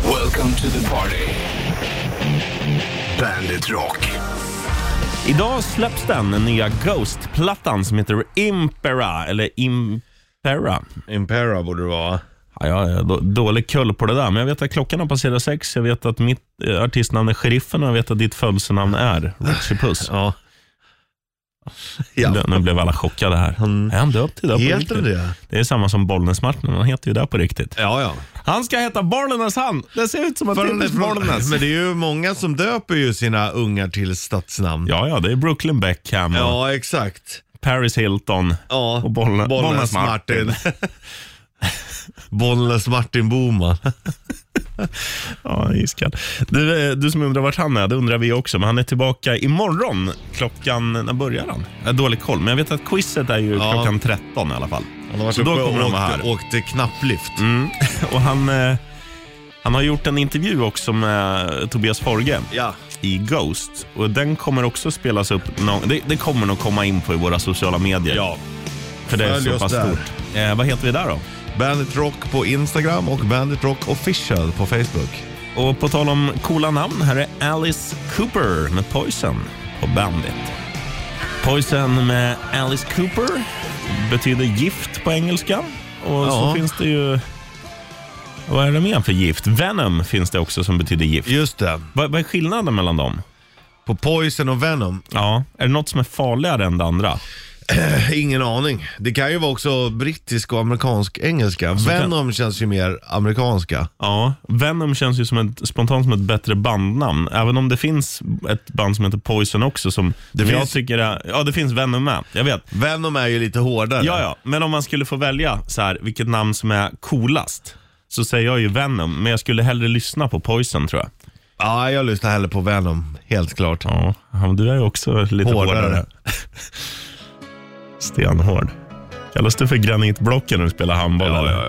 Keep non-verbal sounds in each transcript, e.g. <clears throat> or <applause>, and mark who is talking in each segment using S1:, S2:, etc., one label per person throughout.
S1: Welcome to the party. Bandit Rock.
S2: Idag släpps den, den nya Ghost-plattan som heter Impera, eller Impera.
S3: Impera borde det vara.
S2: Ja, jag har då, dålig kull på det där, men jag vet att klockan har passerat sex. Jag vet att mitt eh, artistnamn är Sheriffen och jag vet att ditt födelsenamn är Richie Puss.
S3: Ja. ja.
S2: Nu blev alla chockade här. Är han döpt idag på
S3: Heter
S2: riktigt?
S3: det?
S2: Det är samma som Bollnäs-Martin, han heter ju där på riktigt.
S3: Ja, ja.
S2: Han ska heta Bollnäs han! Det ser ut som att det är Bollnäs.
S3: Men det är ju många som döper ju sina ungar till stadsnamn.
S2: Ja, ja, det är Brooklyn Beckham, och
S3: Ja, exakt.
S2: Paris Hilton
S3: Ja.
S2: och Bollnä-
S3: Bollnäs
S2: Bollnäs-Martin.
S3: Martin. <laughs> Bollnäs Martin Boman.
S2: Ja, iskall. Du, eh, du som undrar vart han är, det undrar vi också. Men han är tillbaka imorgon. Klockan, när börjar han? Jag har dålig koll, men jag vet att quizet är ju
S3: Ja.
S2: klockan 13 i alla fall.
S3: Han har varit
S2: Så då
S3: uppe och
S2: kommer han vara
S3: åkte,
S2: här. Mm.
S3: åkte knapplift.
S2: Och han, eh, han har gjort en intervju också med Tobias Forge
S3: Ja.
S2: i Ghost. Och den kommer också spelas upp. nå- det, det kommer nog komma in på i våra sociala medier.
S3: ja.
S2: för det är
S3: följ
S2: så
S3: oss
S2: pass
S3: där.
S2: stort. Eh, vad heter vi där då?
S3: Bandit Rock på Instagram och Bandit Rock Official på Facebook.
S2: Och på tal om coola namn, här är Alice Cooper med Poison på Bandit. Poison med Alice Cooper betyder gift på engelska. Och så
S3: Ja.
S2: finns det ju... Vad är det mer för gift? Venom finns det också som betyder gift.
S3: Just det.
S2: Vad, vad är skillnaden mellan dem?
S3: På Poison och Venom.
S2: Ja, är det något som är farligare än det andra?
S3: <laughs> Ingen aning. Det kan ju vara också brittisk och amerikansk engelska.
S2: kan-
S3: Venom känns ju mer amerikanska.
S2: Ja, Venom känns ju som ett, spontant som ett bättre bandnamn. Även om det finns ett band som heter Poison också som det jag
S3: finns-
S2: tycker är... Ja, det finns Venom med. Jag vet.
S3: Venom är ju lite hårdare.
S2: Ja, ja, men om man skulle få välja så här, vilket namn som är coolast, så säger jag ju Venom, men jag skulle hellre lyssna på Poison tror jag.
S3: Ja, jag lyssnar hellre på Venom, helt klart.
S2: Ja, men du är ju också lite hårdare.
S3: Hårdare.
S2: <laughs> Stenhård. Kallas du för granitblocken när du spelar handboll?
S3: Ja,
S2: eller?
S3: ja,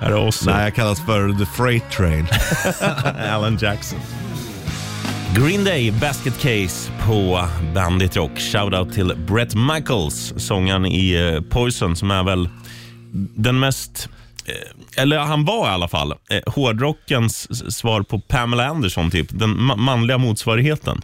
S3: ja.
S2: Är det oss?
S3: Nej, jag kallas för The Freight Train.
S2: <laughs> Alan Jackson. Green Day, Basket Case på Bandit Rock. Shoutout till Brett Michaels, sångaren i eh, Poison, som är väl den mest, eh, eller han var i alla fall, eh, hårdrockens s- svar på Pamela Anderson, typ. Den ma- manliga motsvarigheten.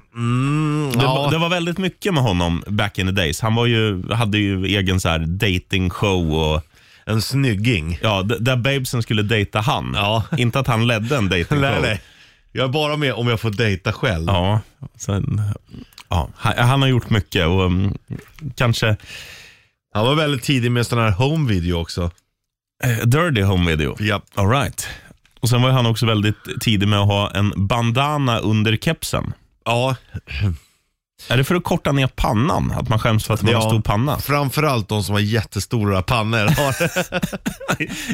S2: Det,
S3: ja.
S2: var- det var väldigt mycket med honom back in the days. Han var ju, hade ju egen så här dating show och
S3: En snygging.
S2: Ja, d- där babesen skulle dejta han.
S3: Ja.
S2: Inte att han ledde en dating show.
S3: <laughs> Nej, nej. Jag är bara med om jag får dejta själv.
S2: Ja, sen, ja han, han har gjort mycket och mm, kanske
S3: Han var väldigt tidig med sån här home video också.
S2: eh, Dirty Home Video.
S3: Ja.
S2: All right. Och sen var ju han också väldigt tidig med att ha en bandana under kepsen.
S3: Ja,
S2: Är det för att korta ner pannan? Att man skäms för att man har
S3: Ja.
S2: stor panna?
S3: framförallt de som har
S2: <laughs>
S3: jättestora pannor. har det.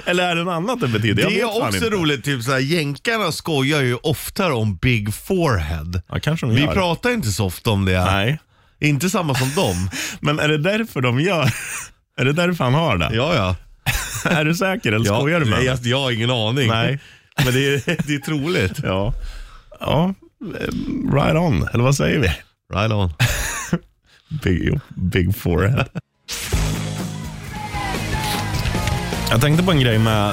S2: Eller är det något annat det betyder? Jag
S3: Det
S2: vet fan
S3: är också
S2: inte.
S3: roligt, typ såhär, jänkarna skojar ju oftare om big forehead.
S2: Ja, kanske de
S3: Vi
S2: gör.
S3: pratar inte så ofta om det.
S2: Nej.
S3: Inte samma som
S2: <laughs>
S3: dem.
S2: Men är det därför de gör? <laughs> Är det därför han har det?
S3: Ja, ja.
S2: Är du säker eller
S3: ja
S2: skojar du med
S3: nej,
S2: mig?
S3: jag, jag har ingen aning.
S2: Nej.
S3: Men det är, det är troligt.
S2: Ja. ja, eh, right on. Eller vad säger vi?
S3: Right on.
S2: Big, big forehead. Jag tänkte på en grej med...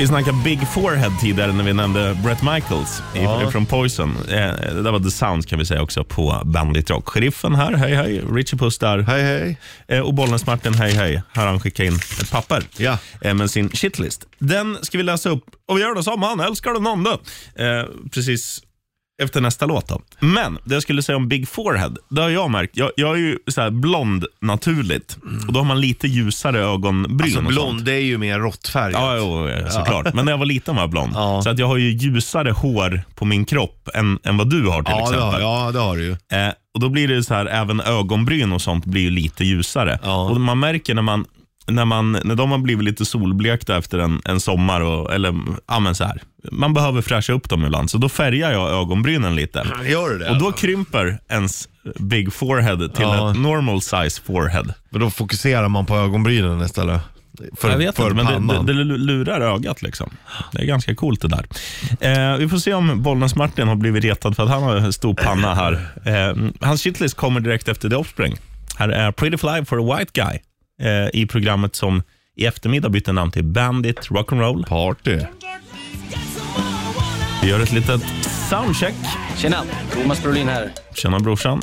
S2: Vi snackade Big Forehead tidigare när vi nämnde Brett Michaels i-
S3: Ja.
S2: från Poison. Eh, Det där var The Sound kan vi säga också på Bandit Rock. Sheriffen här, hej hej. Richie Puss där.
S3: Hej hej.
S2: Eh, Och Bollnäs-Martin, hej hej. Här har han skickat in ett papper
S3: Ja.
S2: eh, med sin shitlist. Den ska vi läsa upp och vi gör det som han, älskar du någon då? Eh, precis efter nästa låt då. Men det jag skulle säga om Big Forehead, det har jag märkt. Jag, jag är ju så här blond naturligt och då har man lite ljusare ögonbryn.
S3: Alltså
S2: och sånt.
S3: blond, det är ju mer råttfärgat.
S2: Ja, jo, jo, såklart. Men när jag var liten var jag blond.
S3: Ja.
S2: Så att jag har ju ljusare hår på min kropp än, än vad du har till
S3: Ja, det
S2: exempel.
S3: har, ja, det har du ju.
S2: Eh, och Då blir det så här, även ögonbryn och sånt blir ju lite ljusare.
S3: Ja.
S2: Och Man märker när man när, man, när de har blivit lite solblekta efter en, en sommar, och, eller ja, men så här. man behöver fräscha upp dem ibland, så då färgar jag ögonbrynen lite.
S3: Gör du det?
S2: Och då krymper ens big forehead till
S3: Ja.
S2: ett normal size forehead.
S3: Men då fokuserar man på ögonbrynen istället. För,
S2: jag vet
S3: för
S2: inte, men det,
S3: pannan.
S2: det, det lurar ögat liksom. Det är ganska coolt det där. Eh, vi får se om Bollnäs-Martin har blivit retad för att han har en stor panna här. Eh, hans shitlist kommer direkt efter The Offspring. Här är Pretty Fly for a White Guy eh, i programmet som i eftermiddag bytte namn till Bandit Rock'n'Roll.
S3: Party.
S2: Vi gör ett litet soundcheck.
S4: Tjena, Thomas Brolin här.
S2: Tjena brorsan.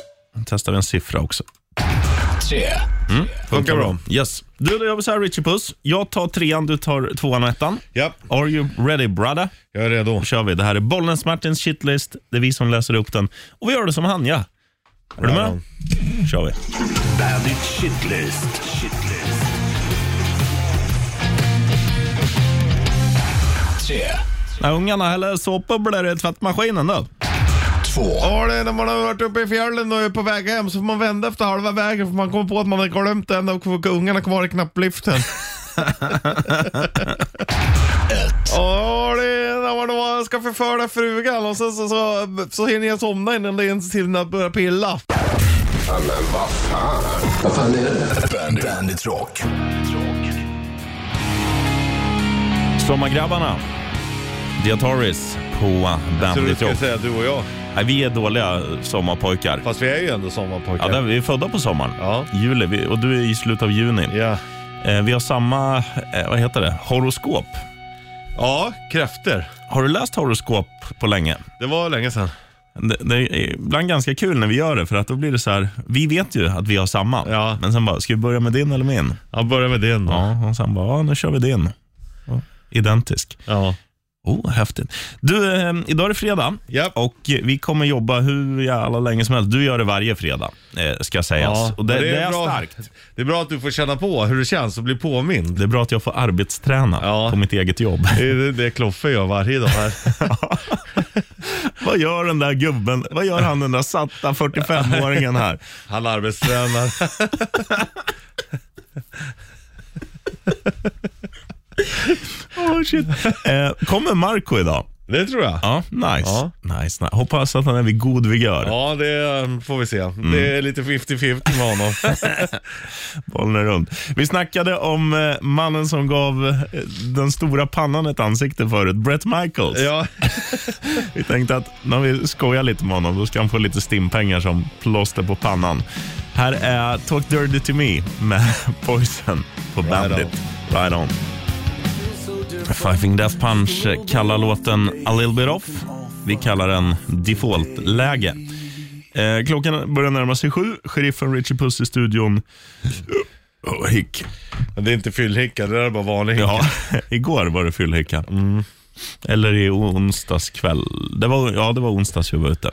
S2: Testar vi en siffra också.
S4: Tre.
S3: Funkar bra.
S2: Yes. Du, då gör vi så här Richie Puss. Jag tar trean, du tar tvåan och ettan.
S3: Ja,
S2: Are you ready brother?
S3: jag är redo.
S2: Då kör vi. Det här är Bollens Martins shitlist. Det är vi som läser upp den. Och vi gör det som han, ja. Är du med? kör vi.
S1: Bandit Shitlist. Shitlist.
S4: Tre.
S2: När ungarna häller såpbubblor i tvättmaskinen då.
S4: Två.
S3: Ja, det är när man har varit uppe i fjällen och är på väg hem så får man vända efter halva vägen för man kommer på att man har glömt en av ungarna kvar i <laughs> knappliften. Ja, det är när man då ska förföra frugan och sen så, så, så hinner jag somna innan det ens hinner börja pilla.
S1: Bandit. Bandit Rock.
S2: Sommargrabbarna. Diataris på
S3: Så du
S2: Bandit
S3: ska
S2: Rock.
S3: säga du och jag.
S2: Nej, vi är dåliga sommarpojkar.
S3: Fast vi är ju ändå sommarpojkar.
S2: Ja, där, vi är födda på sommaren.
S3: Ja.
S2: Juli, vi, och du är i slutet av juni.
S3: ja.
S2: Eh, vi har samma, eh, vad heter det, horoskop.
S3: ja, kräfter.
S2: Har du läst horoskop på länge?
S3: Det var länge sedan.
S2: Det, det är ibland ganska kul när vi gör det, för att då blir det så här, vi vet ju att vi har samma.
S3: Ja.
S2: Men sen bara, ska vi börja med din eller min?
S3: Jag börjar med din då.
S2: Ja, och sen bara, ja, nu kör vi din. Ja, Identisk.
S3: Ja.
S2: Oh, häftigt. Du, eh, idag är det fredag
S3: Japp.
S2: och vi kommer jobba hur jävla länge som helst. Du gör det varje fredag, eh, ska sägas. och det, det, är starkt.
S3: Det är bra att du får känna på hur det känns och bli påmind.
S2: Det är bra att jag får arbetsträna
S3: Ja.
S2: på mitt eget
S3: <laughs>
S2: jobb.
S3: Det är det- det Kloffe gör varje
S2: <laughs>
S3: dag här.
S2: Vad gör den där gubben? Vad gör han den där satta 45-åringen
S3: <laughs>
S2: här?
S3: Han arbetstränar.
S2: Oh, shit. Eh, kommer Marco idag?
S3: Det tror jag.
S2: Ja, nice.
S3: Ja.
S2: nice, nice. Hoppas att han är vid god vigör.
S3: Ja, det eh, får vi se.
S2: Mm.
S3: Det är lite 50-50 med
S2: <laughs>
S3: honom.
S2: Bollen är rund. Vi snackade om eh, mannen som gav eh, den stora pannan ett ansikte förut, Brett Michaels.
S3: ja.
S2: Vi tänkte att när vi skojar lite med honom, då ska han få lite stimpengar som plåster på pannan. Här är Talk Dirty To Me med <laughs> Poison på Bandit. Right on. Five Finger Death Punch kallar låten A Little Bit Off. Vi kallar den Default-läge. Eh, klockan börjar närma sig sju. Sheriffen Richie Puss i studion. Oh, hick.
S3: Det är inte fyllhicka, det där är bara vanlig hicka.
S2: Ja, <laughs> igår var det fyllhicka. Mm. Eller i onsdags kväll. Det var, ja, det var onsdags vi var ute.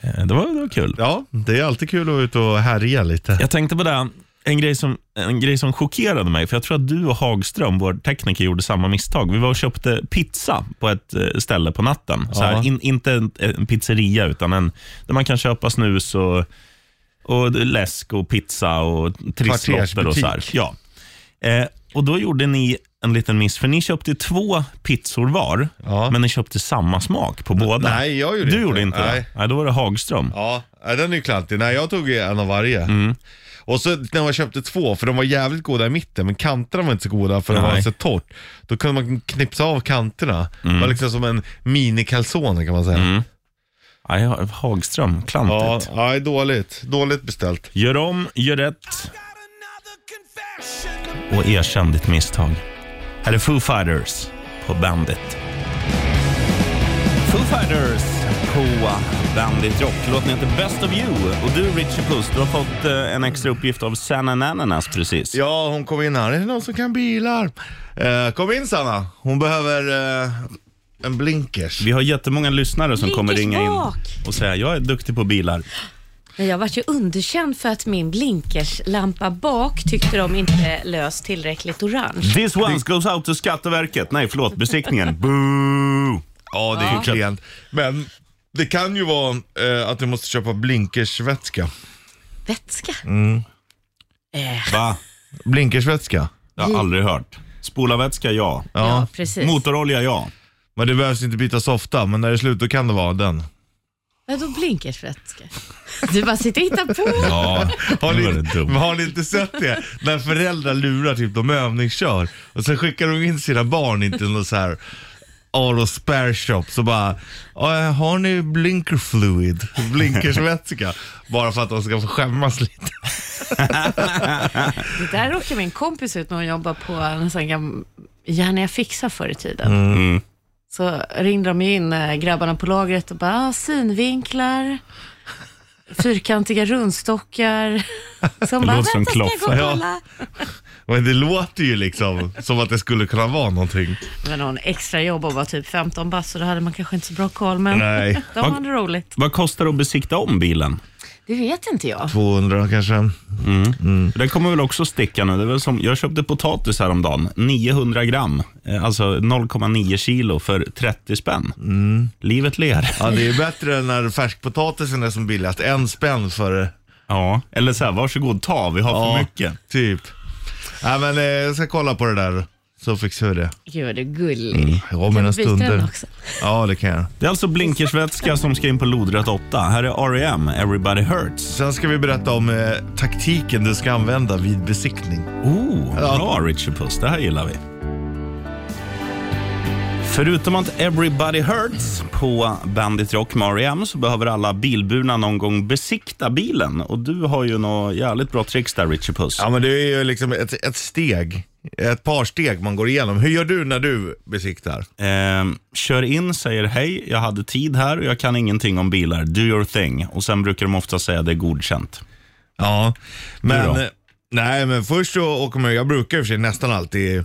S2: Eh, Det var, det var kul.
S3: ja, det är alltid kul att vara ute och härja lite.
S2: Jag tänkte på det, här, en grej, som, en grej som chockerade mig, för jag tror att du och Hagström, vår tekniker, gjorde samma misstag. Vi var och köpte pizza på ett eh, ställe på natten. Så här,
S3: Ja.
S2: in, inte en, en pizzeria, utan en där man kan köpa snus och, och läsk och pizza och trisslotter och så här.
S3: Kvartersbutik.
S2: Ja. Eh, och då gjorde ni en liten miss, för ni köpte två pizzor var,
S3: Ja.
S2: men ni köpte samma smak på båda.
S3: nej, jag gjorde
S2: du
S3: inte.
S2: gjorde inte det.
S3: Nej.
S2: Nej, då var det Hagström.
S3: Ja, nej, den är ju klantig. Nej, jag tog ju en av varje. Och så när man köpte två, för de var jävligt goda i mitten, men kanterna var inte så goda för det var
S2: Nej.
S3: så torrt. Då kunde man knipsa av kanterna. Det var liksom som en mini calzone kan man säga.
S2: Nej, Hagström, klantigt.
S3: Ja, nej, dåligt. Dåligt beställt.
S2: Gör om, gör rätt och erkänn ditt misstag. Här är Foo Fighters på Bandit. Foo Fighters på Bandit Rock. Låten heter Best of You. Och du, Richie Puss, du har fått eh, en extra uppgift av Sanna Nananas precis.
S3: Ja, hon kom in här. Är det någon som kan bilar? Eh, kom in Sanna. Hon behöver eh, en blinkers.
S2: Vi har jättemånga lyssnare som kommer
S5: Blinkers
S2: ringa in
S5: bak.
S2: och säga jag är duktig på bilar.
S5: Men jag vart ju underkänd för att min blinkerslampa bak tyckte de inte lös tillräckligt orange.
S2: This one goes out to Skatteverket. Nej, förlåt, besiktningen. Boo!
S3: Ja, det är ju klent. Men det kan ju vara eh, att du måste köpa blinkersvätska.
S5: Vätska. Eh,
S2: Va?
S3: Blinkersvätska?
S2: Jag har aldrig hört. Spolarvätska, ja.
S5: ja. precis.
S2: Motorolja, ja.
S3: Men det behövs inte bytas ofta, men när det är slut då kan det vara den.
S5: Vadå blinkersvätska? Du bara sitter och hittar på.
S2: Ja,
S3: Har
S2: <laughs> nu var
S3: ni,
S2: det dumt.
S3: men har ni inte sett det? När föräldrar lurar typ de övningskör och sen skickar de in sina barn in till någon så här auto spare shop så bara, "Ja, har ni blinker fluid? Blinkersvätska? Bara för att de ska få skämmas lite.
S5: Det där råkade min kompis ut när hon jobbade på en sån gam- Gärna jag fixar förr i tiden. Så ringde de ju in eh, grabbarna på lagret och bara, ah, synvinklar, fyrkantiga rundstockar. Som bara,
S2: låter som
S5: vänta ska jag gå och
S2: Kloffe."
S3: Ja.
S5: kolla.
S3: Men det låter ju liksom som att det skulle kunna vara någonting.
S5: Det var någon extra jobb att vara typ 15 bass så då hade man kanske inte så bra koll men
S3: Nej.
S5: de
S2: Vad-
S5: hade roligt.
S2: Vad kostar det att besikta om bilen?
S5: Det vet inte jag.
S3: 200 kanske.
S2: Den kommer väl också sticka nu. Det är väl som, jag köpte potatis häromdagen, 900 gram, eh, alltså 0,9 kilo för 30 spänn. Livet ler.
S3: Mm. Ja, det är bättre än när färskpotatisen är som billigast. En spänn för
S2: <laughs> Ja, eller så här, varsågod ta, vi har
S3: Ja,
S2: för mycket.
S3: Typ. Nej, men eh, jag ska kolla på det där så fixar vi det.
S5: Gud vad du är gullig.
S3: Ja, mina
S5: byta den
S3: stunder.
S5: också?
S3: Ja, det kan jag.
S2: Det är alltså blinkersvätska som ska in på lodrätt 8. Här är R.E.M. Everybody Hurts.
S3: Sen ska vi berätta om eh, taktiken du ska använda vid besiktning.
S2: Oh,
S3: Ja.
S2: bra Richard Puss. Det här gillar vi. Förutom att Everybody Hurts på Bandit Rock med R.E.M. så behöver alla bilburna någon gång besikta bilen. Och du har ju något jävligt bra tricks där Richard Puss.
S3: Ja, men det är ju liksom ett, ett steg. Ett par steg man går igenom. Hur gör du när du besiktar?
S2: Ehm, kör in, säger hej, jag hade tid här och jag kan ingenting om bilar. Do your thing. Och sen brukar de ofta säga det är godkänt.
S3: Ja,
S2: Du
S3: men...
S2: då?
S3: eh, Nej, men först så åker man, jag brukar i och för sig nästan alltid,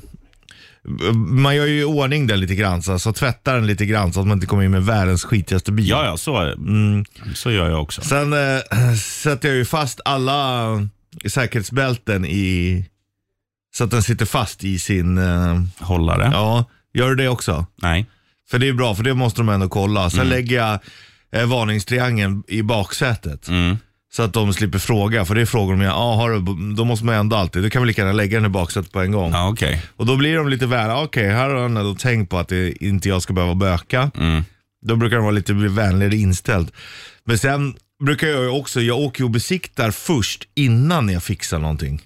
S3: man gör ju i ordning den lite grann, så alltså, tvättar den lite grann så att man inte kommer in med världens skitigaste bil.
S2: Ja, ja, så, är det. så gör jag också.
S3: Sen eh, sätter jag ju fast alla eh, säkerhetsbälten i, så att den sitter fast i sin, eh,
S2: Hållare?
S3: ja, gör du det också?
S2: Nej.
S3: För det är bra, för det måste de ändå kolla. Sen lägger jag eh, varningstriangeln i baksätet. Så att de slipper fråga, för det är frågor de gör. Ah, har du, då måste man ändå alltid, då kan vi lika gärna lägga den i baksätet på en gång.
S2: Ja, okej.
S3: Och då blir de lite väl, okej här har han ändå tänkt på att det, inte jag ska behöva böka. Då brukar de vara lite vänligare inställd. Men sen brukar jag ju också, jag åker ju och besiktar först innan jag fixar någonting.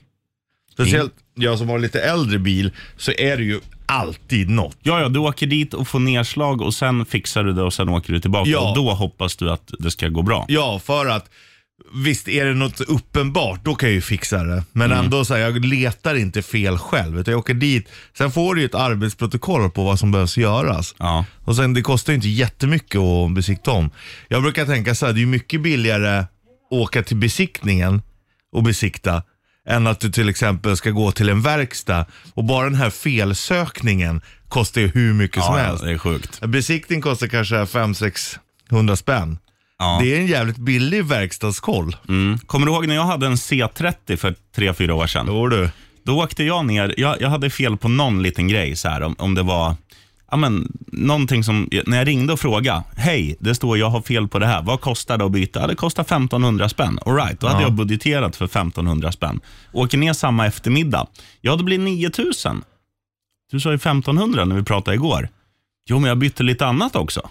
S3: Speciellt jag som har lite äldre bil, så är det ju alltid något.
S2: Ja, ja, du åker dit och får nedslag och sen fixar du det och sen åker du tillbaka.
S3: Ja.
S2: Och då hoppas du att det ska gå bra.
S3: Ja, för att visst är det något uppenbart, då kan jag ju fixa det. Men
S2: Mm.
S3: ändå så här, jag letar inte fel själv. Utan jag åker dit, sen får du ju ett arbetsprotokoll på vad som behövs göras.
S2: Ja.
S3: Och sen det kostar ju inte jättemycket att besikta om. Jag brukar tänka så här, det är ju mycket billigare att åka till besiktningen och besikta än att du till exempel ska gå till en verkstad och bara den här felsökningen kostar ju hur mycket som
S2: ja,
S3: helst.
S2: det är sjukt.
S3: En Besiktning kostar kanske 500-600 spänn.
S2: Ja.
S3: Det är en jävligt billig verkstadskoll.
S2: Mm. Kommer du ihåg när jag hade en C30 för tre fyra år sedan?
S3: Jo du.
S2: Då åkte jag ner, jag, jag hade fel på någon liten grej så här, om, om det var Ja, men, någonting som, när jag ringde och frågade, hej, det står jag har fel på det här, vad kostar det att byta? Ja, det kostar 1500 spänn. All right, då hade jag budgeterat för 1500 spänn. Åker ner samma eftermiddag, ja det blir 9000. Du sa ju 1500 när vi pratade igår. Jo, men jag bytte lite annat också.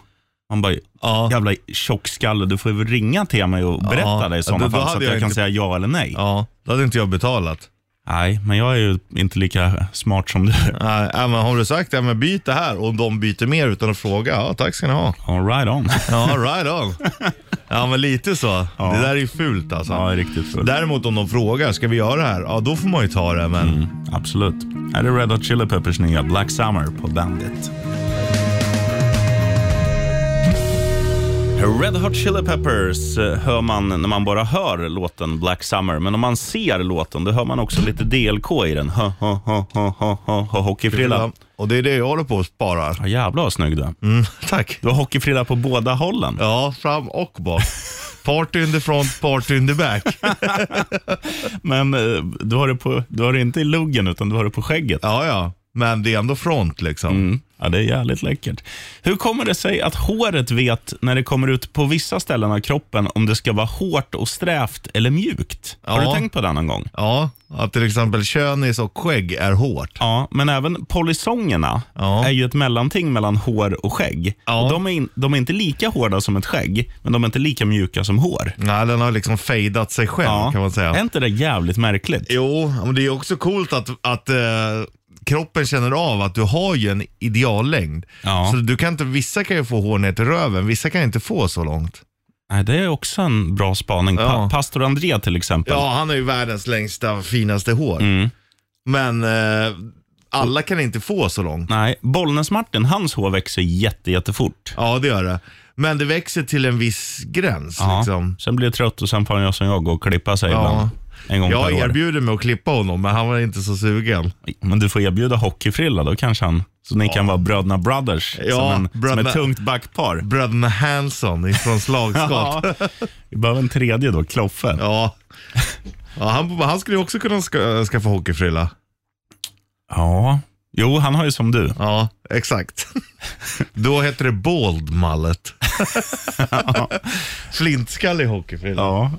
S2: Man bara,
S3: Ja.
S2: jävla tjockskalle, du får ju ringa till mig och berätta
S3: Ja.
S2: det i
S3: Då-
S2: sådana
S3: då
S2: fall så
S3: hade
S2: att
S3: jag
S2: jag, kan
S3: inte-
S2: säga ja eller nej.
S3: Ja, då hade inte jag betalat.
S2: Nej, men jag är ju inte lika smart
S3: <laughs>
S2: som du.
S3: Nej, nej, men har du sagt ja, men byt det här och de byter mer utan att fråga, ja tack ska ni ha.
S2: All right on. <laughs>
S3: Ja, right on. Ja, men lite så.
S2: Ja.
S3: Det där är ju fult alltså.
S2: Ja, det är riktigt fult.
S3: Däremot om de frågar, ska vi göra det här? Ja, då får man ju ta det,
S2: Mm.
S3: men
S2: Absolut. Här är Red Hot Chili Peppers nya Black Summer på Bandit. Red Hot Chili Peppers eh, hör man när man bara hör låten Black Summer, men om man ser låten då hör man också lite DLK i den. Ha, ha, ha, ha, ha, ha, ha, hockeyfrilla.
S3: Och det är det jag håller på och sparar.
S2: Ja, jävlar vad snygg du är.
S3: Mm, tack.
S2: Du har hockeyfrilla på båda hållen.
S3: Ja, fram och bak. Party in the front, party in the back.
S2: Men eh, du har, det på, du har det inte i luggen utan du har det på skägget.
S3: Ja, ja. Men det är ändå front liksom.
S2: Mm. Ja, det är jävligt läckert. Hur kommer det sig att håret vet när det kommer ut på vissa ställen av kroppen om det ska vara hårt och strävt eller mjukt? Har
S3: Ja.
S2: du tänkt på det någon gång?
S3: Ja, att till exempel könis och skägg är hårt.
S2: Ja, men även polisongerna
S3: Ja.
S2: är ju ett mellanting mellan hår och skägg.
S3: Ja.
S2: Och de, är in, de är inte lika hårda som ett skägg, men de är inte lika mjuka som hår.
S3: Nej, den har liksom fejdat sig själv kan man säga.
S2: Är inte det jävligt märkligt?
S3: Jo, men det är också coolt att, att eh, kroppen känner av att du har ju en ideallängd.
S2: Ja.
S3: Så du kan inte, vissa kan ju få hår ner till röven, vissa kan inte få så långt.
S2: Nej, det är också en bra spaning. Pa
S3: Ja.
S2: Pastor André till exempel. Mm.
S3: Ja, han har ju världens längsta, finaste hår. Men eh, alla kan inte få så långt.
S2: Nej, Bollnäs-Martin, hans hår växer jätte, jättefort.
S3: Ja, det gör det. Men det växer till en viss gräns.
S2: Ja.
S3: Liksom.
S2: Sen blir det trött och sen får han göra som jag gå och klippa sig ibland. En gång
S3: Jag
S2: per år.
S3: erbjuder mig att klippa honom, men han var inte så sugen.
S2: Men du får erbjuda hockeyfrilla, då kanske han... Så ni kan vara bröderna Brothers,
S3: Ja,
S2: som, en, som
S3: bröderna-
S2: ett tungt backpar.
S3: Bröderna Hanson från <laughs> slagskott.
S2: Ja. Vi behöver en tredje då, Kloffe. Ja.
S3: ja. Ja, han, han skulle ju också kunna ska, skaffa hockeyfrilla.
S2: Jo, han har ju som du.
S3: Ja,
S2: <laughs>
S3: exakt. Då heter det bald mallet. Flintskallig hockeyfrilla.
S2: Ja.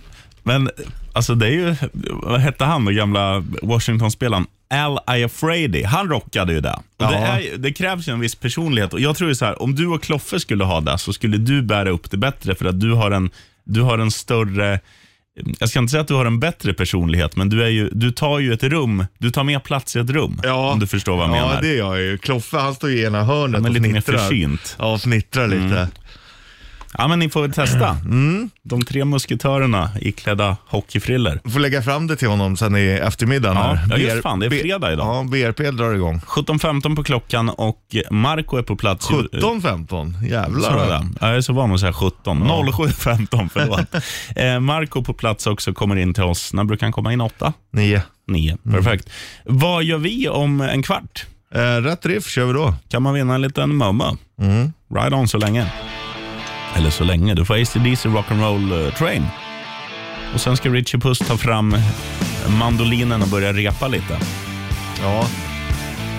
S2: Men alltså det är ju, vad hette han den gamla Washington-spelaren? Al Iafredi, han rockade ju det. Och
S3: Ja.
S2: det, är, ju- det krävs ju en viss personlighet. Och jag tror ju så här, om du och Kloffe skulle ha det så skulle du bära upp det bättre för att du har en, du har en större jag ska inte säga att du har en bättre personlighet, men du, är ju, du tar ju ett rum, du tar mer plats i ett rum.
S3: Ja.
S2: Om du förstår vad jag
S3: Ja,
S2: menar.
S3: det gör jag ju. Kloffe han står ju i ena hörnet
S2: Han är
S3: och
S2: lite mer
S3: fnittrar.
S2: försynt. Mm.
S3: Ja, och fnittrar lite.
S2: Ja, men ni får väl testa.
S3: Mm.
S2: De tre musketörerna iklädda hockeyfriller.
S3: får lägga fram det till honom sen i eftermiddag.
S2: Ja,
S3: när
S2: ja, just
S3: BR
S2: fan, det är fredag idag.
S3: Ja, BRP drar igång.
S2: 17.15 på klockan och Marco är på plats.
S3: 17.15,
S2: Sa jag
S3: jävlar.
S2: det? Ja, Jag är så van att säga 17. 07.15,
S3: <laughs>
S2: förlåt. eh, Marco på plats också kommer in till oss. När brukar han komma in? 8?
S3: Nio.
S2: 9.
S3: Mm.
S2: Perfekt. Vad gör vi om en kvart?
S3: Eh, rätt riff kör vi då.
S2: Kan man vinna en liten mumma?
S3: Mm.
S2: Ride on så länge. Eller så länge. Du får ACDC Rock'n'Roll eh, Train. Och sen ska Richie Puss ta fram mandolinen och börja repa lite.
S3: Ja.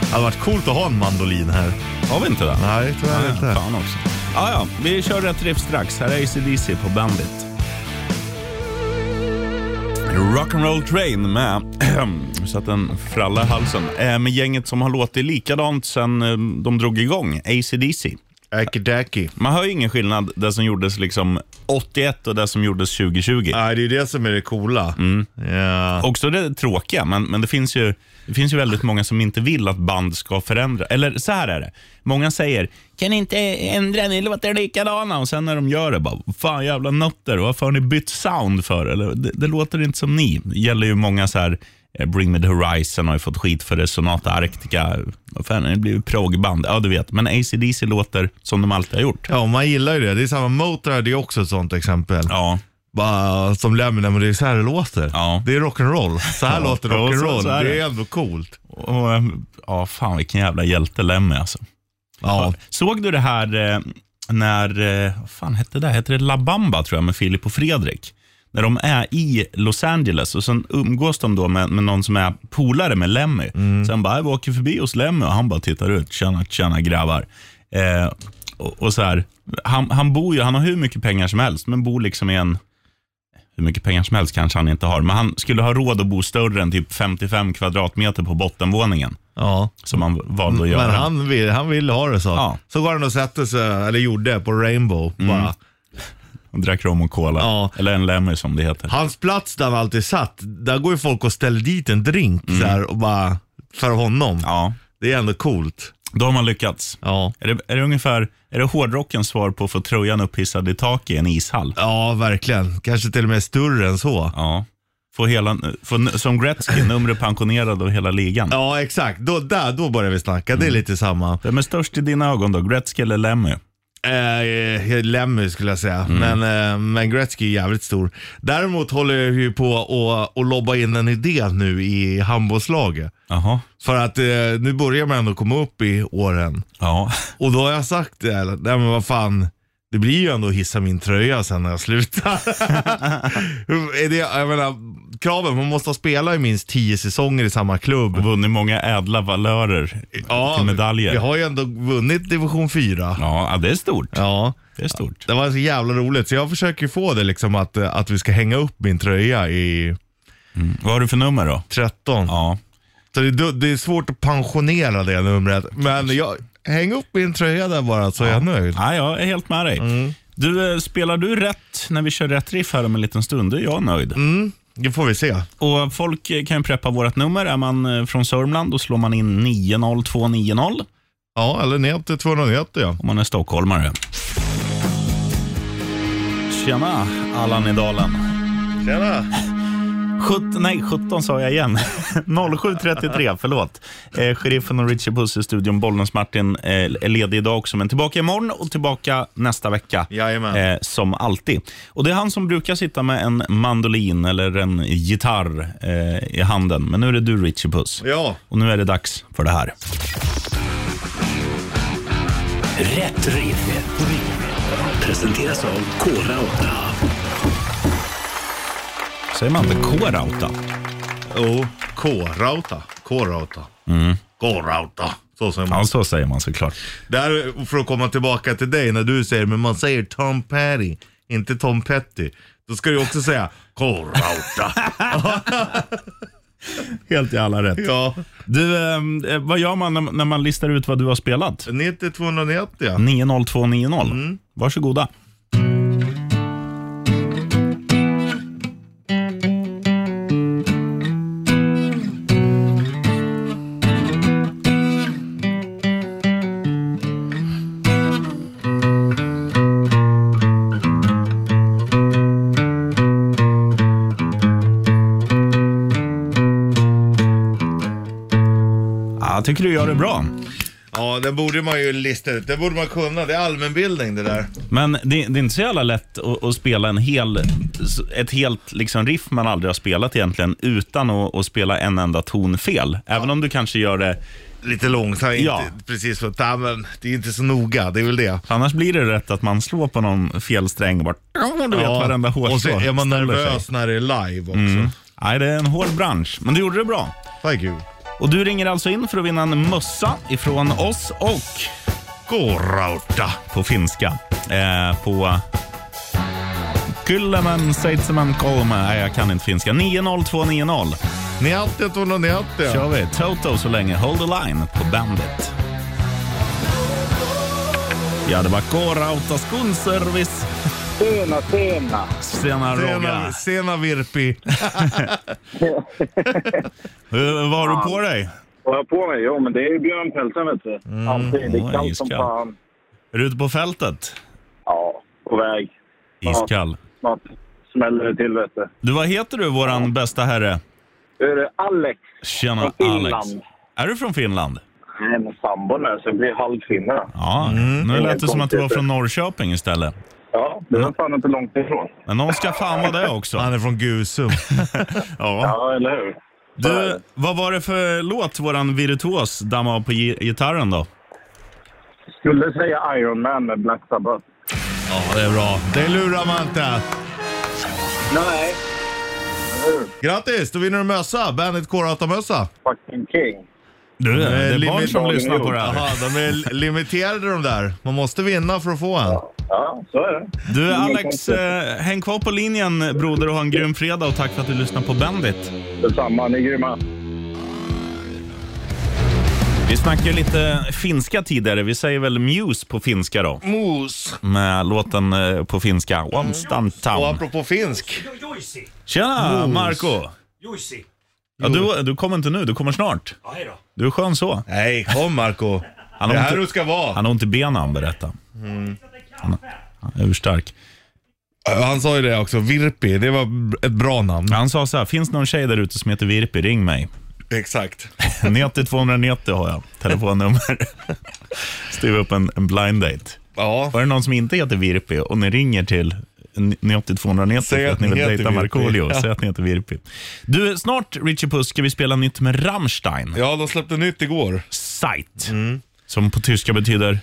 S3: Det hade varit coolt att ha en mandolin här.
S2: Har vi inte det?
S3: Nej, tyvärr
S2: Ja,
S3: inte.
S2: Fan också. Ja, ja, vi kör rätt riff strax. Här är ACDC på Bandit. Rock'n'roll train med, <clears throat> så att den frallar i halsen, Eh, med gänget som har låtit likadant sedan eh, de drog igång, ACDC.
S3: Akidaki.
S2: Man hör ju ingen skillnad det som gjordes liksom 81 och det som gjordes 2020.
S3: Nej, det är ju det som är det coola.
S2: Mm.
S3: Ja.
S2: Också det tråkiga, men, men det, finns ju, det finns ju väldigt många som inte vill att band ska förändra. Eller så här är det. Många säger “Kan ni inte ändra, ni låter likadana” och sen när de gör det bara “Fan jävla nötter, varför har ni bytt sound för?” Eller “Det, det låter inte som ni”. Det gäller ju många så här eh, Bring Me The Horizon har ju fått skit för det, Sonata Arctica, vad fan, det blir ju proggband. Ja, du vet. Men ACDC låter som de alltid har gjort.
S3: ja, man gillar ju det. Det är samma Motörhead, det är också ett sånt exempel.
S2: Ja,
S3: Bara som Lemmy, men det är så här det låter.
S2: Ja.
S3: Det är rock'n'roll. Så här
S2: Ja,
S3: låter
S2: ja, så-
S3: rock'n'roll.
S2: så är
S3: det
S2: det.
S3: är ändå coolt.
S2: och, eh, ja fan vilken jävla hjälte Lemmy alltså.
S3: Ja.
S2: Såg du det här eh, när, eh, vad fan hette det? Hette det La Bamba tror jag med Filip och Fredrik? När de är i Los Angeles och sen umgås de då med, med någon som är polare med Lemmy.
S3: Mm.
S2: Sen bara, jag åker förbi hos Lemmy och han bara tittar ut. Tjena, tjena grabbar. Eh, och, och så här, han, han bor ju, han har hur mycket pengar som helst, men bor liksom i en hur mycket pengar som helst kanske han inte har, men han skulle ha råd att bo större än typ 55 kvadratmeter på bottenvåningen.
S3: ja.
S2: Som han valde att göra.
S3: Mm. Men han vill, han vill ha det så.
S2: Ja. Mm.
S3: Så går han och sätter sig, eller gjorde, på Rainbow. Bara.
S2: Och drack rom och cola.
S3: Ja.
S2: Eller en lemmy som det heter.
S3: Hans plats där han alltid satt, där går ju folk och ställer dit en drink så här, och bara för honom.
S2: Ja,
S3: Det är ändå coolt.
S2: då har man lyckats.
S3: Ja,
S2: Är, det, är det ungefär är det hårdrockens svar på att få tröjan upphissad i tak i en ishall?
S3: ja verkligen. Kanske till och med större än så.
S2: Ja. Få hela, få, n- som
S3: <laughs>
S2: Gretzky, numret pensionerad av hela ligan.
S3: Ja, exakt. Då, där, då börjar vi snacka. Det är lite samma.
S2: Vem är störst i dina ögon då? Gretzky eller Lemmy?
S3: Eh, Lemmy skulle jag säga, men, eh, men Gretzky är jävligt stor. Däremot håller jag ju på att- att lobba in en idé nu i handbollslaget.
S2: Jaha.
S3: För att eh, nu börjar man ändå komma upp i åren.
S2: Ja. <laughs>
S3: Och då har jag sagt det, här, nej men vad fan, det blir ju ändå att hissa min tröja sen när jag slutar. <laughs> Är det, jag menar, kraven, man måste ha spelat i minst tio säsonger i samma klubb.
S2: Vunnit många ädla valörer till medaljer.
S3: vi har ju ändå vunnit division 4.
S2: Ja, ja, det är stort.
S3: Ja.
S2: Det är stort.
S3: Det var så jävla roligt, så jag försöker ju få det liksom att, eh, att vi ska hänga upp min tröja i
S2: Vad har du för nummer då?
S3: 13.
S2: Ja.
S3: Så det, är du- det är svårt att pensionera det numret. Men jag, häng upp min tröja där bara så är jag nöjd.
S2: Ja, jag är helt med dig.
S3: Mm.
S2: Du, eh, spelar du rätt när vi kör rätt riff här om en liten stund, då är jag nöjd.
S3: Det får vi se.
S2: Och Folk eh, kan ju preppa vårt nummer. Är man eh, från Sörmland, då slår man in 90290
S3: Ja, eller ner till 290 ja.
S2: om man är stockholmare. Tjena, Allan i dalen.
S3: Tjena!
S2: Sjut, nej, 17 sa jag igen. <laughs> 07.33, förlåt. Eh, sheriffen och Richie Puss i studion. Bollnäs Martin eh, är ledig idag också, men tillbaka imorgon och tillbaka nästa vecka.
S3: Jajamän.
S2: Eh, som alltid. Och Det är han som brukar sitta med en mandolin eller en gitarr eh, i handen. Men nu är det du, Richie Puss.
S3: Ja.
S2: Och nu är det dags för det här.
S6: Rätt riff. Presenteras av Kora 8.
S2: Säger man inte K-Rauta?
S3: Jo, K-Rauta. K-Rauta.
S2: Mm.
S3: K-Rauta. Så säger man.
S2: Ja, så säger man såklart.
S3: Där, för att komma tillbaka till dig när du säger, men man säger Tom Petty, inte Tom Petty. Då ska du också säga <laughs>
S2: <laughs>
S3: K-Rauta.
S2: Helt i alla rätt.
S3: ja,
S2: Du, eh, vad gör man när, när man listar ut vad du har spelat?
S3: 90-290 ja.
S2: Mm. 90290. Varsågoda. Ja, Jag tycker du gör det bra.
S3: Ja, den borde man ju lista ut. Den borde man kunna. Det är allmänbildning det där.
S2: Men det, det är inte så jävla lätt att, att spela en hel, ett helt liksom riff man aldrig har spelat egentligen utan att, att spela en enda ton fel. Även om du kanske gör det,
S3: Lite långsamt,
S2: Ja.
S3: inte precis så. Ja, men det är inte så noga, det är väl det.
S2: annars blir det rätt att man slår på någon fel sträng och bara, du vet varenda hårstrå.
S3: och så är man
S2: ställer sig. Mm.
S3: nervös när det är live också.
S2: Nej, det är en hård bransch, men du gjorde det bra.
S3: Thank you.
S2: Och du ringer alltså in för att vinna en mössa ifrån oss och
S3: K-Rauta.
S2: på finska. Eh, på... Kyllämän, seitsemän, kolme. Nej, jag kan inte finska. 90290.
S3: 90-290 ja.
S2: kör vi. Toto så länge. Hold the line på bandet. Ja, det var K-Rauta Skonservice.
S7: Tjena, tjena!
S2: Tjena Rogga.
S3: Sena, sena Virpi.
S2: Hur- Vad har du på dig?
S7: Vad har jag på mig? Jo, men det är ju björnpälsen, vet du. Alltid. Det
S2: åh,
S7: är kallt som
S2: iskallt.
S7: fan.
S2: Är du ute på fältet?
S7: Ja, på väg.
S2: Iskall.
S7: Snart smäller det till, vet du.
S2: Du, vad heter du, våran bästa herre?
S7: Nu är det Alex.
S2: Tjena
S7: Från Finland.
S2: Alex. Är du från Finland?
S7: Nej, men sambon är så jag blir halvfinne.
S2: Ja, nu lät det som att du var
S7: Konstigt.
S2: från Norrköping istället.
S7: Ja, det är fan inte långt ifrån.
S2: Men någon ska fan vara det också.
S3: Han är från Gusum.
S2: <laughs> Ja.
S7: Ja, eller hur?
S2: Du, vad var det för låt våran virtuos dammade av på gi- gitarren då?
S7: Skulle säga Iron Man med Black Sabbath.
S3: Ja, det är bra. Det lurar man inte.
S7: Nej. Eller hur?
S3: Grattis, då vinner du mössa. Bandet K-Rauta-mössa.
S7: Fucking king.
S2: Du, Eh, det är barn
S3: Eh, limit-
S2: som lyssnar på det här.
S3: Jaha, de är li- limiterade de där. Man måste vinna för att få en.
S7: Ja, så är det.
S2: Du Alex, eh, häng kvar på linjen broder och ha en grym fredag och tack för att du lyssnar på Bandit.
S7: Detsamma, ni är grymma.
S2: Vi snackade ju lite finska tidigare, vi säger väl Muse på finska då?
S3: Mos.
S2: Med låten eh, på finska, One Stunt
S3: Och
S2: Town.
S3: apropå finsk.
S8: Joisi,
S2: Tjena Marco!
S8: Joisi.
S2: Ja, du, du kommer inte nu, du kommer snart.
S8: Ja, hej då.
S2: Du är skön så.
S3: Nej, kom Marco.
S2: Han
S3: Det
S2: har
S3: här Mm.
S2: ont,
S3: du ska vara.
S2: han har ont i benen han berättade. Han, han är urstark.
S3: Han sa ju det också. Virpi, det var ett bra namn.
S2: Han sa så här, finns det någon tjej där ute som heter Virpi, ring mig.
S3: <laughs> Exakt.
S2: 90 290 har jag,
S3: <laughs>
S2: telefonnummer. Skriv upp en, en blind date.
S3: Ja.
S2: Var det någon som inte heter Virpi och ni ringer till 90 290
S3: Säg
S2: för att
S3: att
S2: ni
S3: ni
S2: vill
S3: heter
S2: dejta
S3: Virpi.
S2: Markoolio,
S3: Ja.
S2: säg att ni heter Virpi. Du, snart Richie Puss ska vi spela nytt med Rammstein,
S3: Ja, de släppte nytt igår.
S2: Sight. Som på tyska betyder?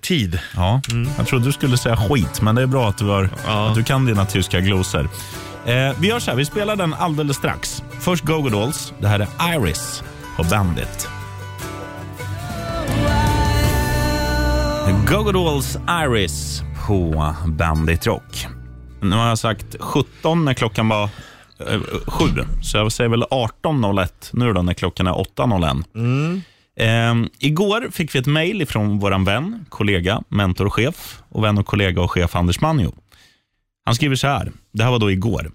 S3: Tid.
S2: Ja, jag trodde du skulle säga skit, men det är bra att du, har, att du kan dina tyska glosor. Eh, vi gör så här, vi spelar den alldeles strax. Först Go-Go Dolls, det här är Iris på Bandit. Go-Go Dolls Iris på Bandit Rock. Nu har jag sagt 17 när klockan var eh, 7, så jag säger väl 18.01 nu då när klockan är 8.01. Ehm, igår fick vi ett mejl från vår vän, kollega, mentor och chef och vän och kollega och chef Anders Manjo. Han skriver så här, det här var då igår.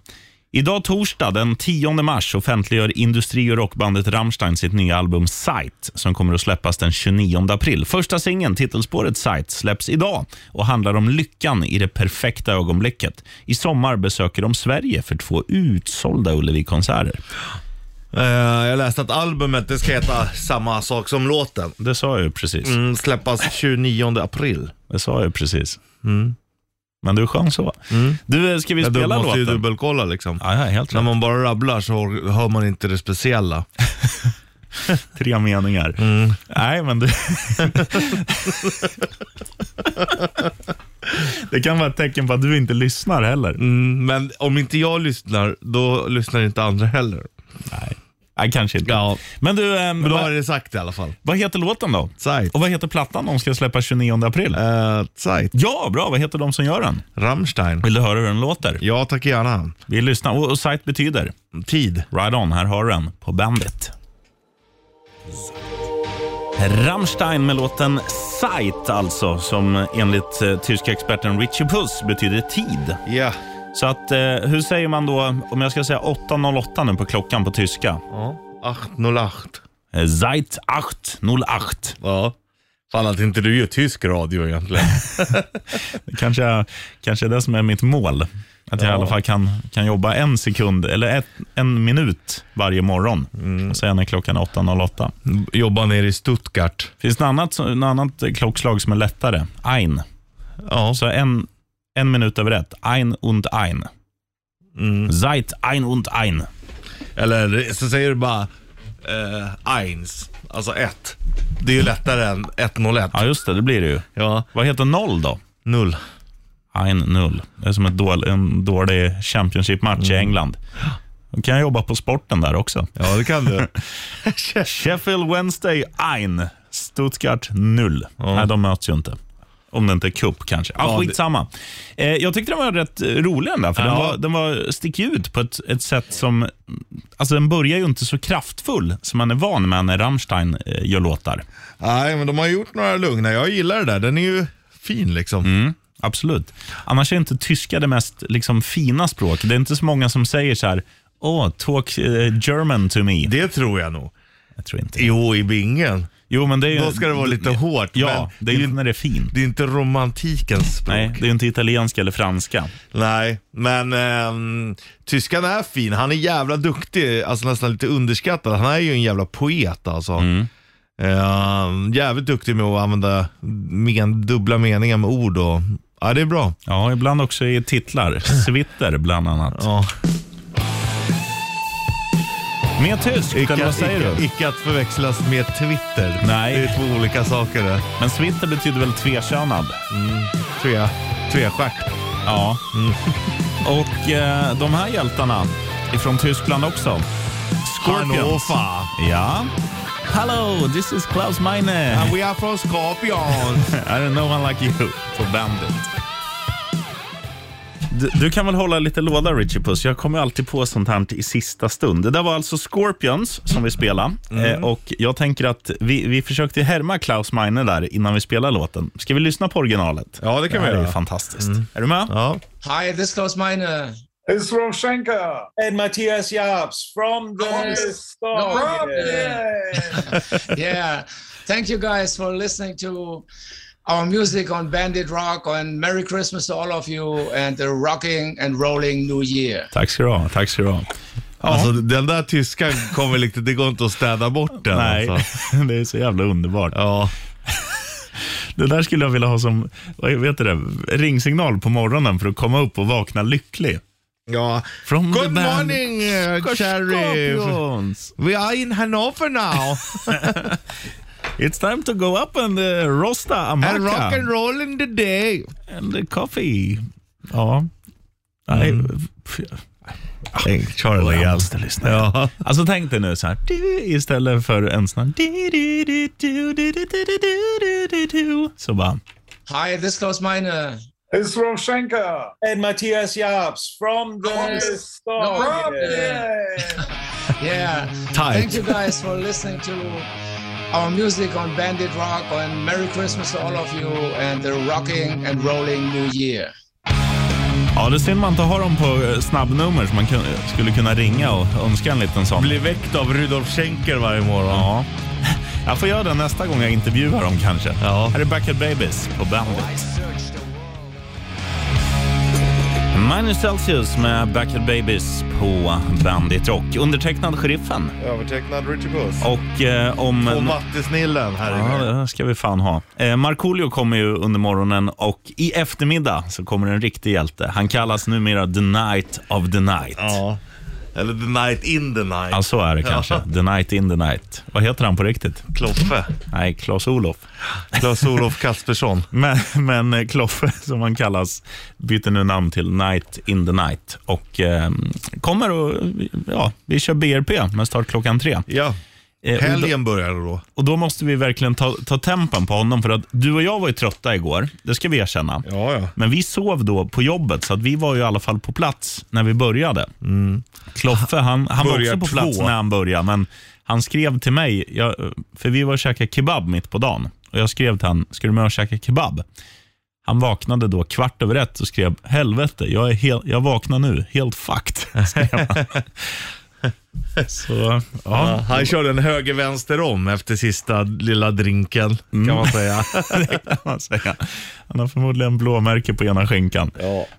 S2: Idag torsdag den 10 mars offentliggör industri och rockbandet Rammstein sitt nya album Sight som kommer att släppas den 29 april. Första singeln, titelspåret Sight, släpps idag och handlar om lyckan i det perfekta ögonblicket. I sommar besöker de Sverige för två utsålda Ullevi-konserter.
S3: Eh, jag läste att albumet det ska heta samma sak som låten.
S2: Det sa jag ju precis.
S3: Mm, släppas 29 april.
S2: Det sa jag ju precis. Mm. Men du sjöng så. Du, ska vi
S3: Mm. Ja, då
S2: spela
S3: måste ju
S2: låten?
S3: dubbelkolla liksom.
S2: Ja, ja, helt
S3: När
S2: rätt.
S3: man bara rabblar så hör man inte det speciella.
S2: Tre meningar.
S3: Mm.
S2: Nej, men
S3: <laughs>
S2: du... det kan vara ett tecken på att du inte lyssnar heller.
S3: Mm, men om inte jag lyssnar, då lyssnar inte andra heller.
S2: Nej, kanske inte.
S3: Ja.
S2: Men du, ehm,
S3: Men då har
S2: vad,
S3: jag det sagt i alla fall.
S2: vad heter låten då?
S3: Zeit.
S2: Och vad heter plattan de ska släppa 29 april?
S3: Uh, Zeit.
S2: Ja, bra. Vad heter de som gör den?
S3: Rammstein.
S2: Vill du höra hur den låter?
S3: Ja, tack gärna.
S2: Vi lyssnar. Och, och site betyder?
S3: Tid.
S2: Right on, här har du den på bandet. Rammstein med låten Zeit alltså, som enligt eh, tyska experten Richie Puss betyder tid.
S3: Ja.
S2: Så att, eh, hur säger man då, om jag ska säga 8.08 nu på klockan på tyska?
S3: Ja. 808.
S2: Eh, Zeit 8.08.
S3: Ja. Fan att inte du gör tysk radio egentligen. <laughs>
S2: Kanske, jag- kanske det som är mitt mål. Att jag i alla fall kan, kan jobba en sekund, eller ett, en minut varje morgon. Och sen när klockan är 8.08.
S3: Jobbar nere i Stuttgart.
S2: Finns det något annat, något annat klockslag som är lättare? Ein.
S3: Ja.
S2: Så en, en minut över ett. Ein und ein. Zeit ein und ein.
S3: Eller så säger du bara eh, eins. Alltså ett. Det är ju lättare än 101.
S2: Ja, just det. Det blir det ju.
S3: Ja.
S2: Vad heter noll då?
S3: Null.
S2: Ein null. Det är som ett dål, en dålig Championship-match i England. Då kan jag jobba på sporten där också.
S3: Ja, det kan du.
S2: Sheffield Wednesday ein. Stuttgart null. Nej, de möts ju inte. Om det inte är cup kanske. Ah,
S3: det-
S2: skitsamma. Eh, jag tyckte den var rätt eh, rolig den där, för den, var, den var, stick ut på ett, ett sätt som... Alltså den börjar ju inte så kraftfull som man är van med när Rammstein eh, gör låtar.
S3: <laughs> Nej, men de har gjort några lugna. Jag gillar det där. Den är ju fin liksom.
S2: Mm. Absolut. Annars är inte tyska det mest liksom, fina språk. Det är inte så många som säger så här, oh, talk eh, German to me.
S3: Det tror jag nog.
S2: Jag tror inte.
S3: Jo, i bingen.
S2: Jo, men det är ju...
S3: Då ska det vara lite hårt.
S2: Ja,
S3: men
S2: det är ju inte när det är fint.
S3: det är inte romantikens språk.
S2: Nej, det är ju inte italienska eller franska.
S3: Nej, men ehm, tyskan är fin. Han är jävla duktig, alltså nästan lite underskattad. Han är ju en jävla poet alltså.
S2: Mm.
S3: Ehm, jävligt duktig med att använda men, dubbla meningar med ord och ja, det är bra.
S2: Ja, ibland också i titlar. Svitter bland annat.
S3: Ja.
S2: Mer tyskt, eller vad säger
S3: icke,
S2: du?
S3: icke att förväxlas med Twitter.
S2: Nej.
S3: Det är två olika saker det.
S2: Men svitter betyder väl tvekönad?
S3: Mm. Tre, trestjärt.
S2: Ja.
S3: Mm.
S2: Och eh, de här hjältarna ifrån Tyskland också. Scorpions.
S3: Hannover.
S2: Ja. Hello, this is Klaus Meine.
S3: And we are from Scorpions.
S2: <laughs> I don't know one like you på Bandit. Du, du kan väl hålla lite låda, Richie Puss. Jag kommer alltid på sånt här i sista stund. Det där var alltså Scorpions som vi spelade. Eh, och jag tänker att vi, vi försökte härma Klaus Meine där innan vi spelade låten. Ska vi lyssna på originalet?
S3: Ja, det
S2: det här
S3: kan
S2: är
S3: vi
S2: ju
S3: göra.
S2: fantastiskt. Är du med?
S3: ja.
S8: Hi, this uh, is Klaus Meine.
S7: It's from Schenker.
S8: And Matthias Jabs from the yeah. Thank you guys for listening to our music on Bandit Rock and Merry Christmas to all of you and a rocking and rolling new year.
S2: Tack ska du ha. Tack ska du ha.
S3: Alltså den där tyskan kommer lite, det går inte att städa bort den
S2: Nej,
S3: alltså.
S2: <laughs> det är så jävla underbart.
S3: Ja.
S2: Det där skulle jag vilja ha som vad heter det, ringsignal på morgonen för att komma upp och vakna lycklig.
S3: ja.
S2: From
S3: Good morning uh, Cherry.
S2: Scorpions.
S3: We are in Hannover now.
S2: <laughs> It's time to go up and uh, rosta a
S3: and rock
S2: maca
S3: and roll in the day.
S2: and a coffee. Ja. Nej, f-
S3: Mm. Tänk Charlie
S2: jag
S3: igen.
S2: måste lyssna.
S3: Ja.
S2: Alltså tänk dig nu så här. Du, istället för en sån här. du, du, du, du, du, du, du, du, du, du, du. Så bara.
S8: Hi, this uh, is Klaus Meine.
S7: It's from Schenker.
S9: and Matthias Jabs from
S8: Oh,
S9: the
S8: <laughs> Yeah. Thank you guys for listening to our music on Bandit Rock and Merry Christmas to all of you and a rocking and rolling new year.
S2: Ja, det är synd man inte har dem på eh, snabbnummer så man kun, skulle kunna ringa och önska en liten sån.
S3: Blir väckt av Rudolf Schenker varje morgon.
S2: Ja. <laughs> Jag får göra det nästa gång jag intervjuar dem kanske.
S3: Ja.
S2: Här är Backyard Babies på Bandit. Minus Celsius med Backyard Babies på Bandit Rock. Undertecknad Sheriffen.
S3: Övertecknad Richie Puss.
S2: Och eh, om...
S3: Och Mattisnillen här
S2: Ja,
S3: inne.
S2: det ska vi fan ha. Eh, Markoolio kommer ju under morgonen och i eftermiddag så kommer en riktig hjälte. Han kallas numera The Night of the Night.
S3: Ja. Eller The Night in the Night.
S2: Ja, så är det kanske.
S3: Ja.
S2: The Night in the Night. Vad heter han på riktigt?
S3: Kloffe.
S2: Nej, Klas-Olof.
S3: Klas-Olof Kaspersson.
S2: Men, men eh, Kloffe, <laughs> som han kallas, byter nu namn till Night in the Night och eh, kommer och ja, vi kör BRP med start klockan tre.
S3: Ja.
S2: Eh, och, då,
S3: Helgen börjar då.
S2: och då måste vi verkligen ta, ta tempen på honom för att du och jag var ju trötta igår, det ska vi erkänna.
S3: Ja, ja.
S2: Men vi sov då på jobbet, så att vi var ju i alla fall på plats när vi började. Kloffe, han, han var
S3: Börjar
S2: också på plats
S3: två.
S2: när han började, men han skrev till mig, jag, för vi var och käkade kebab mitt på dagen. Och jag skrev till han, ska du med och käka kebab? Han vaknade då kvart över ett och skrev, helvete, jag, är hel, jag vaknar nu, helt fucked. <laughs> skrev han.
S3: <laughs>
S2: Så, ja,
S3: Han körde en höger-vänster om efter sista lilla drinken,
S2: Mm.
S3: kan
S2: <laughs>
S3: man säga.
S2: det kan man säga. Han har förmodligen blåmärke på ena skinkan.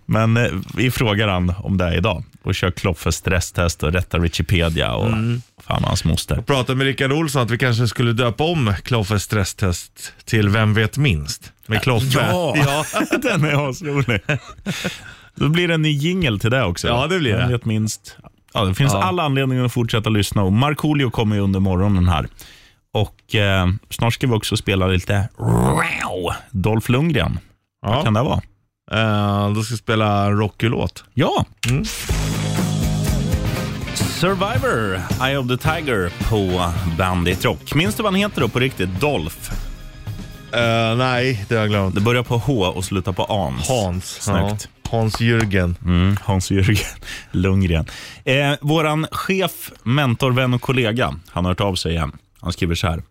S2: Men eh, vi frågar han om det här idag och kör klopp för stresstest och rättar Wikipedia och
S3: Mm.
S2: fan hans moster. <laughs>
S3: Pratade med Rickard Olsson att vi kanske skulle döpa om Kloffes stresstest till Vem vet minst? Med Kloffe.
S2: Äh,
S3: <laughs>
S2: ja. den är asrolig. Då blir det en ny jingel till det också.
S3: Ja, det blir det.
S2: Vem Vet minst. Ja, det finns alla anledningar att fortsätta lyssna. Och Markoolio kommer ju under morgonen här. Och eh, snart ska vi också spela lite Wow! Dolph Lundgren. Vad kan det vara?
S3: Eh, då ska vi spela en Rocky-låt.
S2: Ja.
S3: Mm.
S2: Survivor, Eye of the Tiger på Bandit Rock. Minns du vad han heter då på riktigt? Dolph.
S3: Eh, nej, det har jag glömt.
S2: Det börjar på H och slutar på Ans.
S3: Hans.
S2: Äh, Snyggt.
S3: Ja. Hans Jürgen.
S2: Mm, Hans-Jörgen <laughs> Lundgren. Eh, våran chef, mentor, vän och kollega, han har hört av sig igen. Han skriver så här.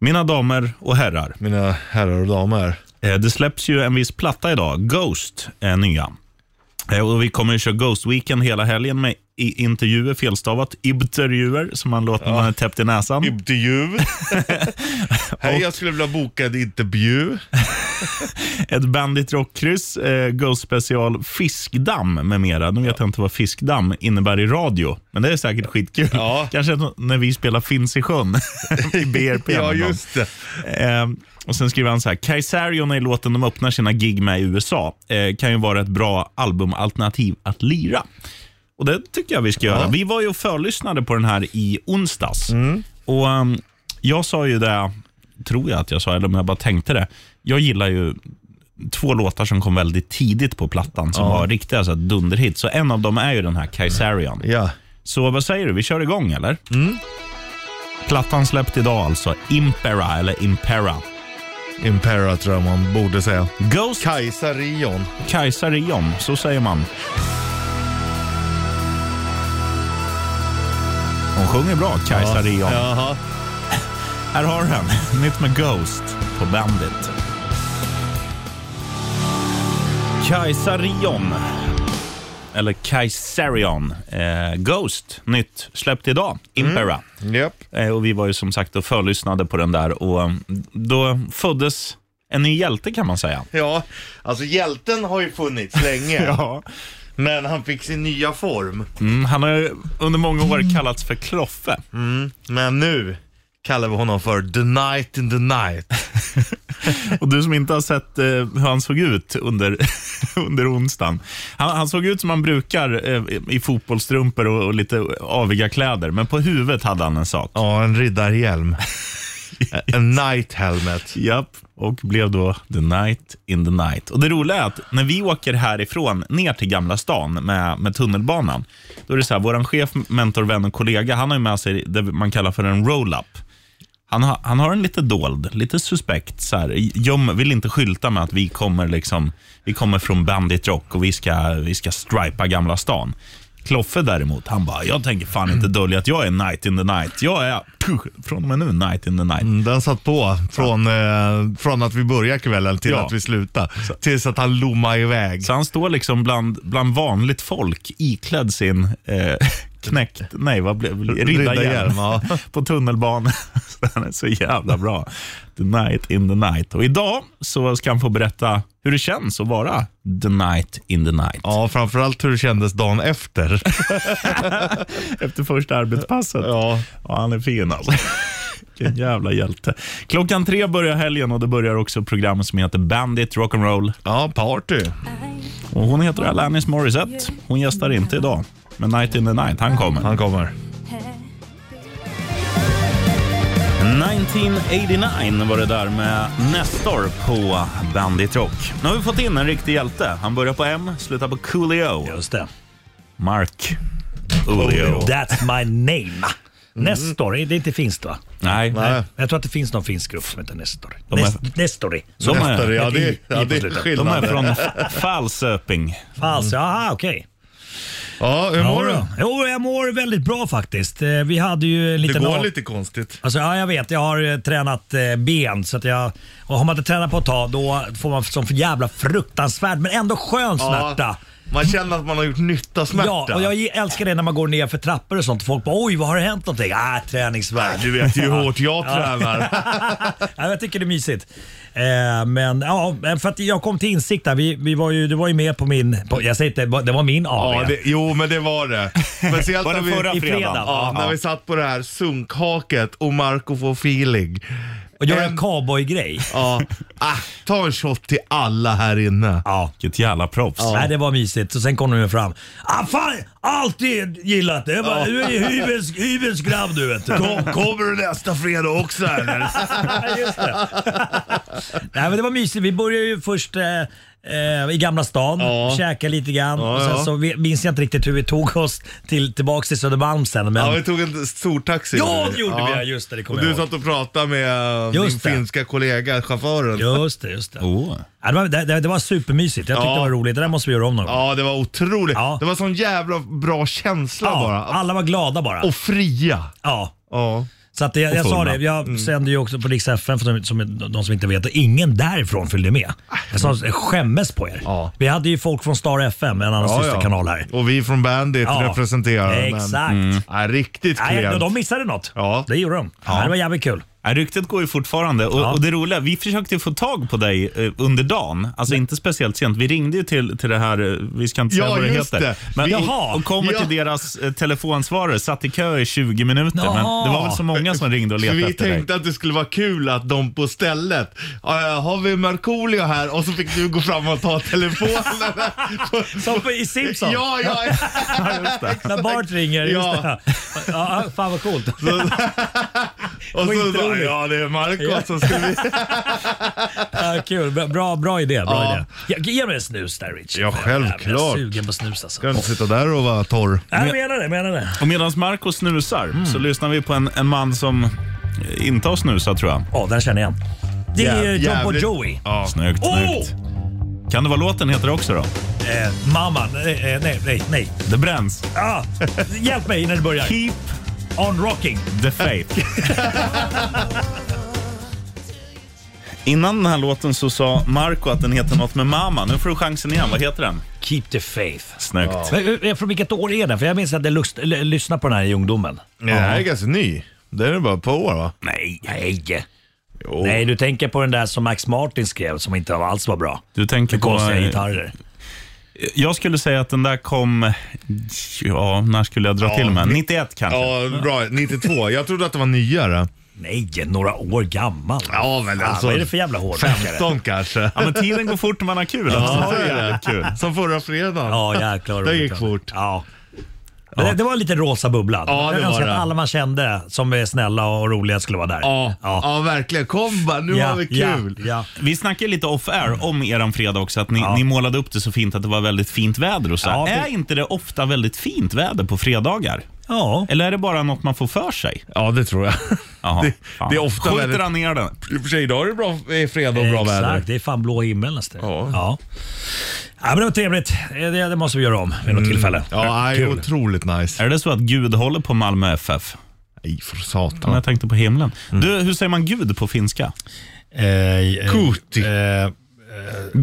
S2: Mina damer och herrar,
S3: Mina herrar och damer.
S2: Eh, Det släpps ju en viss platta idag, Ghost, är nya. Eh, Och vi kommer ju köra Ghost Weekend hela helgen med i- intervjuer, felstavat, intervjuer, som man låter när man är täppt i näsan.
S3: <laughs> Intervju. Hej, jag skulle vilja boka en intervju.
S2: Ett Bandit Rockkryss, eh, Ghost special, Fiskdamm med mera. Nu vet jag inte vad Fiskdamm innebär i radio, men det är säkert skitkul.
S3: Ja.
S2: Kanske nå- när vi spelar Finns i
S3: <laughs>
S2: sjön i BRP. någon
S3: <laughs> Ja,
S2: gång.
S3: just det.
S2: Eh, och sen skriver han så här. Kaisarion är låten de öppnar sina gig med i USA. Eh, kan ju vara ett bra albumalternativ att lira. Och det tycker jag vi ska göra. Vi var ju och förlyssnade på den här i onsdags. Och ehm, jag sa ju det, tror jag att jag sa, eller om jag bara tänkte det. Jag gillar ju två låtar som kom väldigt tidigt på plattan som var riktiga så här dunderhits. Så en av dem är ju den här Kaisarion.
S3: Ja.
S2: Så vad säger du, vi kör igång eller? Plattan släppt idag alltså, Impera eller Impera.
S3: Impera tror jag man borde säga.
S2: Ghost
S3: Kajsa Rion.
S2: Kaisarion, så säger man. Hon sjunger bra, Kaisarion.
S3: Jaha.
S2: Här har du den, <laughs> nytt med Ghost på Bandit. Kaisarion, eller Kaisarion, eh, Ghost, nytt, släppt idag, Impera.
S3: Japp.
S2: Eh, Och Vi var ju som sagt och förlyssnade på den där och eh, då föddes en ny hjälte kan man säga.
S3: Ja, alltså hjälten har ju funnits <laughs> länge.
S2: Ja.
S3: Men han fick sin nya form.
S2: Mm, han har ju under många år kallats för Kloffe.
S3: Men nu kallar vi honom för The Night in the <laughs> Night.
S2: Och du som inte har sett eh, hur han såg ut under, <laughs> under onsdagen. Han, han såg ut som han brukar eh, i fotbollstrumpor och, och lite aviga kläder, men på huvudet hade han en sak.
S3: Ja, en riddarhjälm. en night helmet.
S2: Japp, och blev då The Night in the Night. Och Det roliga är att när vi åker härifrån ner till Gamla stan med, med tunnelbanan, då är det så här, vår chef, mentor, vän och kollega, han har ju med sig det man kallar för en roll-up. Han, har han har en lite dold, lite suspekt. Så här, göm, vill inte skylta med att vi kommer, liksom, vi kommer från Bandit Rock och vi ska, vi ska stripa Gamla stan. Kloffe däremot, han bara, jag tänker fan inte dölja att jag är night in the night. Jag är Från och med nu, Night in the Night.
S3: Mm, Den satt på från, eh, från att vi började kvällen till
S2: Ja.
S3: att vi slutade. Tills att han lommade iväg.
S2: Så han står liksom bland, bland vanligt folk iklädd sin eh, <laughs> knäckt, nej vad blev riddarhjälm
S3: Riddarhjälm,
S2: <laughs>
S3: ja.
S2: på tunnelbanan. <laughs> Så han är så jävla bra. The night in the night. Och idag så ska han få berätta hur det känns att vara the night in the night.
S3: Ja, framförallt hur det kändes dagen efter.
S2: Efter första arbetspasset.
S3: Ja.
S2: Ja, han är fin alltså. <laughs> Vilken jävla hjälte. Klockan tre börjar helgen och det börjar också program som heter Bandit Rock'n'Roll.
S3: Ja, party.
S2: Och hon heter Alanis Morissette. Hon gästar inte idag. Men Night in the Night, han kommer.
S3: Han kommer.
S2: 1989 var det där med Nestor på Bandit Rock. Nu har vi fått in en riktig hjälte. Han börjar på M, slutar på Coolio.
S6: Just det.
S2: Mark Coolio.
S6: That's my name. Nestor, det är inte finskt va?
S2: Nej,
S3: Nej.
S6: Jag tror att det finns någon finsk grupp som heter Nestor.
S2: är-
S6: Nest, Nestori.
S2: de
S3: Nästa,
S2: är,
S3: ja,
S6: I- i
S3: det, ja, det är
S6: slutet.
S2: de är
S3: skillnad.
S2: från F- Falsöping.
S6: Fals, jaha okej.
S3: Ja, Mm. hur mår du?
S6: Ja, då. Jo, jag mår väldigt bra faktiskt. Eh, Vi hade ju en
S3: Det
S6: liten...
S3: går lite konstigt.
S6: Alltså, ja, jag vet. Jag har eh, tränat eh, ben. Så att jag, och har man inte tränat på ett tag då får man sån jävla fruktansvärd men ändå skön smärta.
S3: Man känner att man har gjort nytta
S6: Ja,
S3: smärta.
S6: och jag ge- älskar det när man går ner för trappor och sånt. Folk bara oj, vad har det hänt någonting? Ah, träningsvärk.
S3: Du vet ju hur hårt jag
S6: <laughs> Ja.
S3: tränar.
S6: ja, jag tycker det är mysigt. Eh, men ja, för att jag kom till insikt där. Vi, vi var ju, du var ju med på min, på, jag säger inte, det var min AV.
S3: Ja, det, jo, men det var det. Speciellt
S2: Var det
S3: när vi,
S2: förra
S6: I fredag.
S2: fredagen?
S3: Ja, när vi satt på det här sunkhaket och Marco får feeling.
S6: och göra en
S3: en-
S6: cowboygrej.
S3: Ja, ah, ta en shot till alla här inne.
S6: Ja.
S2: Vilket jävla proffs.
S6: Nej, det var mysigt. Och sen kom de ju fram. Ah, fan, alltid gillat det. Jag bara, Du är ju hyvens, hyvens grabb du vet. du."
S3: Kom, kommer du nästa fredag också eller?
S6: Ja, Just det. Nej, men det var mysigt. Vi började ju först eh, eh, i Gamla stan,
S3: Ja.
S6: käka lite grann.
S3: Ja,
S6: och sen
S3: ja.
S6: så vi- minns jag inte riktigt hur vi tog oss till, tillbaka till Södermalm sen. Men,
S3: Ja, vi tog en stor taxi.
S6: Ja, det gjorde vi, ja, just det, det kommer
S3: Och du
S6: jag ihåg.
S3: satt och pratade med eh,
S6: Just
S3: din
S6: det.
S3: finska kollega, chauffören. Ja.
S6: Just det, just det.
S2: Oh.
S6: Ja, det, var, det, det- det var supermysigt. Jag tyckte
S3: Ja.
S6: det var roligt. Det där måste vi göra om någon gång.
S3: det var otroligt.
S6: Ja.
S3: Det var sån jävla bra känsla
S6: Ja,
S3: bara.
S6: alla var glada bara.
S3: Och fria.
S6: Ja.
S3: Ja.
S6: Så att jag, jag sa
S2: fulla.
S6: det, jag
S3: Mm.
S6: sände ju också på Rix FM för de som, de som inte vet. Ingen därifrån följde med. Jag sa, jag skämmes på er.
S3: Ja.
S6: Vi hade ju folk från Star FM, en annan
S3: Ja,
S6: systerkanal här.
S3: Och vi från Bandit
S6: Ja.
S3: representerar Mm. den.
S6: Exakt.
S3: Nej, riktigt
S6: Nej,
S3: klent.
S6: de missade något.
S3: Ja.
S6: Det gjorde de. Ja. Det var jävligt kul.
S2: Ja, ryktet går ju fortfarande. Och,
S6: Ja.
S2: och det roliga, vi försökte ju få tag på dig eh, under dagen. Alltså inte speciellt sent. Vi ringde ju till, till det här, eh, vi ska inte säga
S3: Ja,
S2: vad det
S3: just
S2: heter.
S3: det.
S2: Men,
S3: Vi-
S2: och, och kommer
S3: Ja.
S2: till deras eh, telefonsvarare, satt i kö i 20 minuter. Men
S6: Jaha.
S2: det var väl så många som ringde och
S3: För
S2: letade
S3: vi
S2: efter dig.
S3: tänkte att det skulle vara kul att de på stället, "Ja, har vi Markoolio här? Och så fick du gå fram och ta <laughs> telefonen.
S6: Som på- i Simpsons.
S3: <laughs> ja, ja. <laughs>
S6: När Bart ringer. Just
S3: Ja.
S6: det. Ja, fan
S3: <laughs>
S6: vad coolt.
S3: Och så
S6: Skitroligt.
S3: bara, ja det är Marco
S6: Ja.
S3: som skulle vi...
S6: Ja, kul. Bra- Bra, bra idé. Bra
S3: Ja.
S6: idé. Ja, ge mig en snus där Rich.
S3: Ja, självklart.
S6: Jävlar, Jag är sugen på snus alltså.
S3: Ska inte sitta där och vara torr.
S6: Nej, Jag menar det, jag menar det.
S2: Och medan Marco snusar
S3: Mm.
S2: så lyssnar vi på en, en man som eh, inte har snusat tror jag.
S6: Ja, den känner jag igen. Det är
S3: Jäv-
S6: ju John Bon
S3: jävligt-
S6: Jovi.
S3: Ja.
S2: Snyggt,
S6: Åh!
S2: snyggt. Kan det vara låten heter också då?
S6: Eh, mamma, nej, eh, nej, nej. nej.
S2: Det bränns.
S6: Ah, hjälp mig när det börjar.
S2: Keep
S6: On rocking.
S2: The Faith. Innan den här låten så sa Marco att den heter något med Mama. Nu får du chansen igen. Vad heter den?
S6: Keep the faith.
S2: Snyggt.
S6: Men, eh, Från vilket år är den? För jag minns att jag lust, l- lyssnade på den här i ungdomen.
S3: Nej, Den här är ganska ny. Det är bara ett par år va?
S6: Nej. Nej. Nej, du tänker på den där som Max Martin skrev som inte alls var bra.
S2: Du tänker
S6: Med
S2: på... eh,
S6: konstiga
S3: eh,
S6: gitarrer.
S2: Jag skulle säga att den där kom... Ja, när skulle jag dra
S3: Ja,
S2: till med?
S3: ni-
S2: 91 kanske?
S3: Ja, bra. 92. Jag trodde att det var nyare.
S6: Nej, några år gammal.
S3: Ja, men
S6: Fan,
S3: alltså-
S6: Vad är det för jävla hårdrockare?
S3: 15 kanske.
S2: Ja, men tiden går fort när man har kul.
S3: Ja,
S2: Alltså.
S3: det är det. Som förra fredagen.
S6: Ja, jäklar.
S3: Det gick fort.
S6: Ja. Men Det, det var lite rosa bubblan.
S3: Ja,
S6: jag
S3: det
S6: önskar
S3: var det.
S6: att alla man kände som är snälla och roliga skulle vara där.
S3: Ja, ja.
S6: ja.
S3: verkligen. Kom bara, nu
S6: Ja,
S3: har vi kul.
S6: Ja, ja.
S2: Vi snackade lite off-air om eran fredag också, att ni, ni målade upp det så fint att det var väldigt fint väder och så. här.
S6: Ja,
S2: är
S6: det-
S2: inte det ofta väldigt fint väder på fredagar?
S6: ja.
S2: Eller är det bara något man får för sig?
S3: Ja, det tror jag.
S2: Jaha,
S3: Det-
S2: fan.
S3: det är ofta
S2: Skjuter
S3: väldigt-
S2: han ner den?
S3: I och för sig, idag är det bra, är fredag och bra
S6: Exakt,
S3: väder.
S6: det är fan blå himmel nästan.
S3: Ja.
S6: Ja. ja, men det var trevligt. Eh, Det, det måste vi göra om vid något tillfälle.
S3: Mm. Ja, nej,
S6: Kul.
S3: otroligt nice.
S2: Är det så att Gud håller på Malmö FF?
S3: Nej, för satan.
S2: Men jag tänkte på himlen.
S3: Mm.
S2: Du, hur säger man gud på finska?
S6: Eh,
S3: Kuti.
S6: Eh, eh,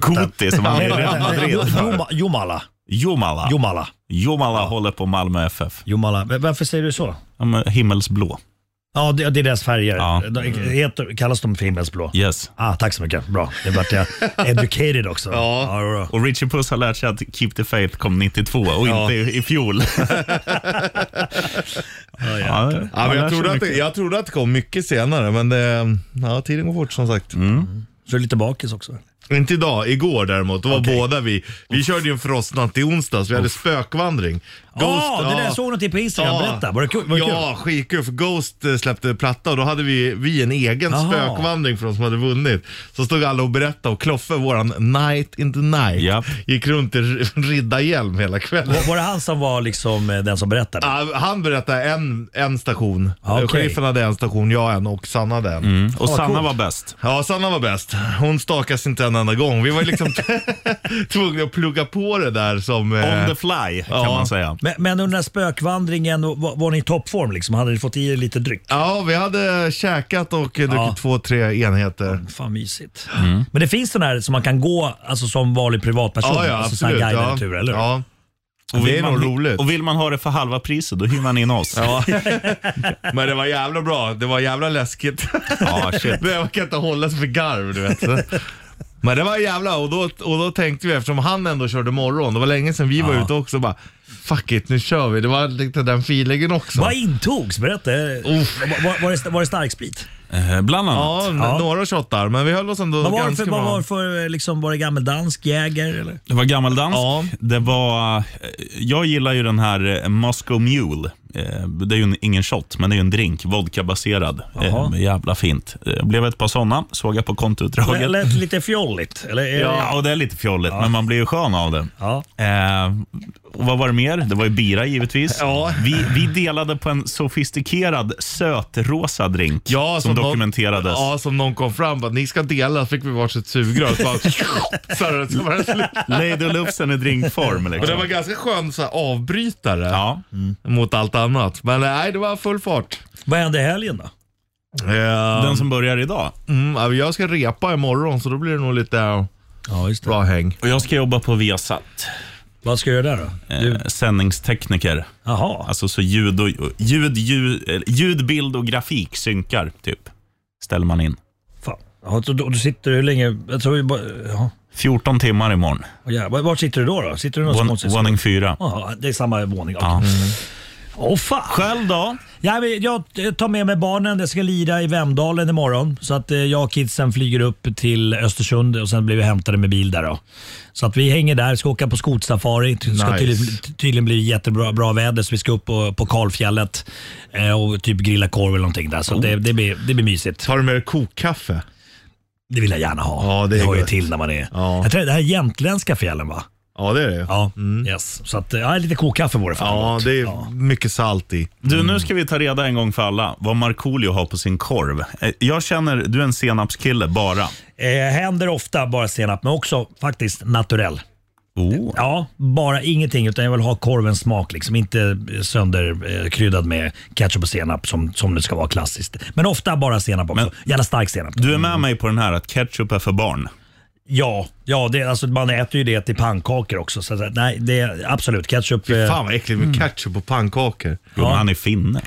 S2: Kuti, som man
S6: vänta,
S2: är
S6: vänta,
S2: rädd för.
S6: Joma- Jomala.
S2: Jomala.
S6: Jomala.
S2: Jomala håller på Malmö FF.
S6: Jomala. V- Varför säger du så?
S2: Ja, men himmelsblå.
S6: Ja, det, det är deras färger.
S2: Ja.
S6: De, heter, kallas de för himmelsblå?
S2: Yes.
S6: Ah, tack så mycket. Bra. Det vart jag educated också.
S3: Ja.
S6: bra.
S2: Och Richie Puss har lärt sig att Keep the Faith kom 92 och inte i i fjol.
S6: Ja,
S2: Ja,
S6: ja.
S3: Ja,
S2: man
S3: men
S2: lär
S3: jag,
S2: sig
S3: trodde att
S2: mycket.
S3: det, jag trodde att det kom mycket senare, men det, ja, tiden går fort som sagt.
S6: Så du är lite bakis också? Ah,
S3: Inte idag, igår däremot. Då var båda vi. Vi körde ju en frostnatt i onsdags. Vi hade spökvandring.
S6: Ja, Ah, det där
S3: ja.
S6: jag såg någonting på Instagram. Berätta. Var det kul? Var det kul?
S3: Ja, skitkul för Ghost eh, släppte platta och då hade vi, vi en egen
S6: Aha.
S3: spökvandring för de som hade vunnit. Så stod alla och berättade och Kloffe, våran night in the night,
S2: Japp.
S3: gick runt i r- <laughs> riddarhjälm hela kvällen.
S6: Var, var det han som var liksom eh, den som berättade?
S3: Ja, Han berättade en, en station.
S6: Ja, okej.
S3: Chefen hade en station, jag en och Sanna hade en.
S2: Och
S6: Ah,
S2: Sanna
S6: coolt.
S2: var bäst.
S3: Ja, Sanna var bäst. Hon stakas inte en enda gång. Vi var ju liksom tvungna att plugga på det där som...
S2: On
S3: eh,
S2: the fly, kan
S3: ja.
S2: man säga.
S6: Men, men under den här spökvandringen, var, var ni i toppform? Liksom? Hade ni fått i er lite dryck?
S3: Ja, vi hade käkat och eh, druckit
S6: Ja.
S3: två, tre enheter.
S6: Mm, Fan mysigt.
S3: Mm.
S6: Men det finns sådana här som man kan gå alltså, som vanlig privatperson?
S3: Ja, ja,
S6: alltså, såna här
S3: absolut. Ja.
S6: guidade turer, eller hur?
S3: ja.
S2: Och
S3: Det
S2: vill
S3: är
S2: man-
S3: nog roligt.
S2: Och vill man ha det för halva priset, då hyr man in oss. Ja,
S3: Men det var jävla bra. Det var jävla läskigt. <laughs>
S2: shit.
S3: Men jag kan inte hålla sig för garv, du vet. Så. Men det var jävla, och då, och då tänkte vi, eftersom han ändå körde morgon, det var länge sedan vi var ute också, bara fuck it, nu kör vi. Det var lite den feelingen också.
S6: Vad intogs? Berätta. Var, var, var, det, var det starksprit?
S2: Eh, Bland annat.
S3: Ja, n- några shottar, men vi höll oss ändå
S6: Vad var det
S3: ganska
S6: för, vad var
S3: bra.
S6: det för eh, liksom, var det gammeldansk, jäger? Eller?
S2: Det var gammaldansk.
S3: Ja.
S2: Det var, eh, jag gillar ju den här eh, Moscow Mule. Eh, Det är ju en, ingen shot, men det är ju en drink. Vodkabaserad. Eh,
S6: Jaha.
S2: Jävla fint. Eh, blev ett par sådana, såg jag på
S6: Det
S2: kontoutdraget.
S6: lät lite fjolligt. Eller, är det-
S2: Ja, och det är lite fjolligt, men man blir ju skön av det.
S6: Ja.
S2: Eh, och vad var det mer? Det var ju bira givetvis.
S3: Ja.
S2: Vi, vi delade på en sofistikerad sötrosa drink
S3: Ja,
S2: som,
S3: någon-
S2: dokumenterades.
S3: Ja, som någon kom fram bara, ni ska dela, fick vi varsitt sugrör. Så bara, <laughs> så här, så var det slut.
S2: Lady Lufsen i drinkform.
S3: Och det
S2: Liksom.
S3: var ganska skön så här, avbrytare
S2: Ja.
S3: mot allt annat. Men eh, nej, det var full fart.
S6: Vad hände i helgen då?
S3: Eh,
S2: Den som börjar idag.
S3: Mm, ja, jag ska repa imorgon så då blir det nog lite
S6: Ja, just
S3: bra häng.
S2: Och jag ska jobba på Viasat.
S6: Vad ska jag göra där då?
S2: Eh, sändningstekniker.
S6: Jaha.
S2: Alltså så ljud, och, ljud, ljud, eh, ljud, bild och grafik synkar, typ. Ställer man in.
S6: Fan. Ja, så då, då sitter du hur länge? Jag tror vi bara, ja.
S2: 14 timmar imorgon.
S6: Åh, jävlar. Var sitter du då? då? Sitter du någonstans?
S2: Vån- Våning fyra.
S6: Ja, det är samma våning. Åh
S2: Ja.
S6: fan!
S2: Själv då?
S6: Ja, men jag tar med mig barnen. Jag ska lira i Vemdalen imorgon. Så att eh, jag och kidsen flyger upp till Östersund och sen blir vi hämtade med bil där. Då. Så att vi hänger där, ska åka på skotsafari. Det ska
S3: Nice.
S6: tydligen, tydligen bli jättebra bra väder så vi ska upp på, på Kalfjället eh, och typ grilla korv eller någonting där. Så det, det, blir, det blir mysigt.
S3: Tar du med dig kokkaffe?
S6: Det vill jag gärna ha.
S3: Ja, det är
S6: hör ju
S3: gott.
S6: till när man är...
S3: Ja.
S6: Jag tror det här är jämtländska fjällen va?
S3: Ja, det är det ju.
S6: Ja, yes. Så att, eh, ja, lite kokkaffe vore fan
S3: Mm. Ja,
S6: gott.
S3: det är
S6: Ja.
S3: mycket salt i. Mm.
S2: Du, nu ska vi ta reda en gång för alla vad Markoolio har på sin korv. Eh, Jag känner, du är en senapskille bara.
S6: Eh, händer ofta bara senap, men också faktiskt naturell.
S2: Oh.
S6: Ja, bara ingenting utan jag vill ha korvens smak liksom. Inte sönderkryddad med ketchup och senap som, som det ska vara klassiskt. Men ofta bara senap också.
S2: Men-
S6: Gärna stark senap.
S2: Du är
S3: Mm.
S2: med mig på den här att ketchup är för barn.
S6: Ja, ja det, alltså, man äter ju det till pannkakor också. Så, att- nej, det är absolut ketchup. eh,
S3: Fan vad äckligt med ketchup och pannkakor.
S2: Jo, men han är finne.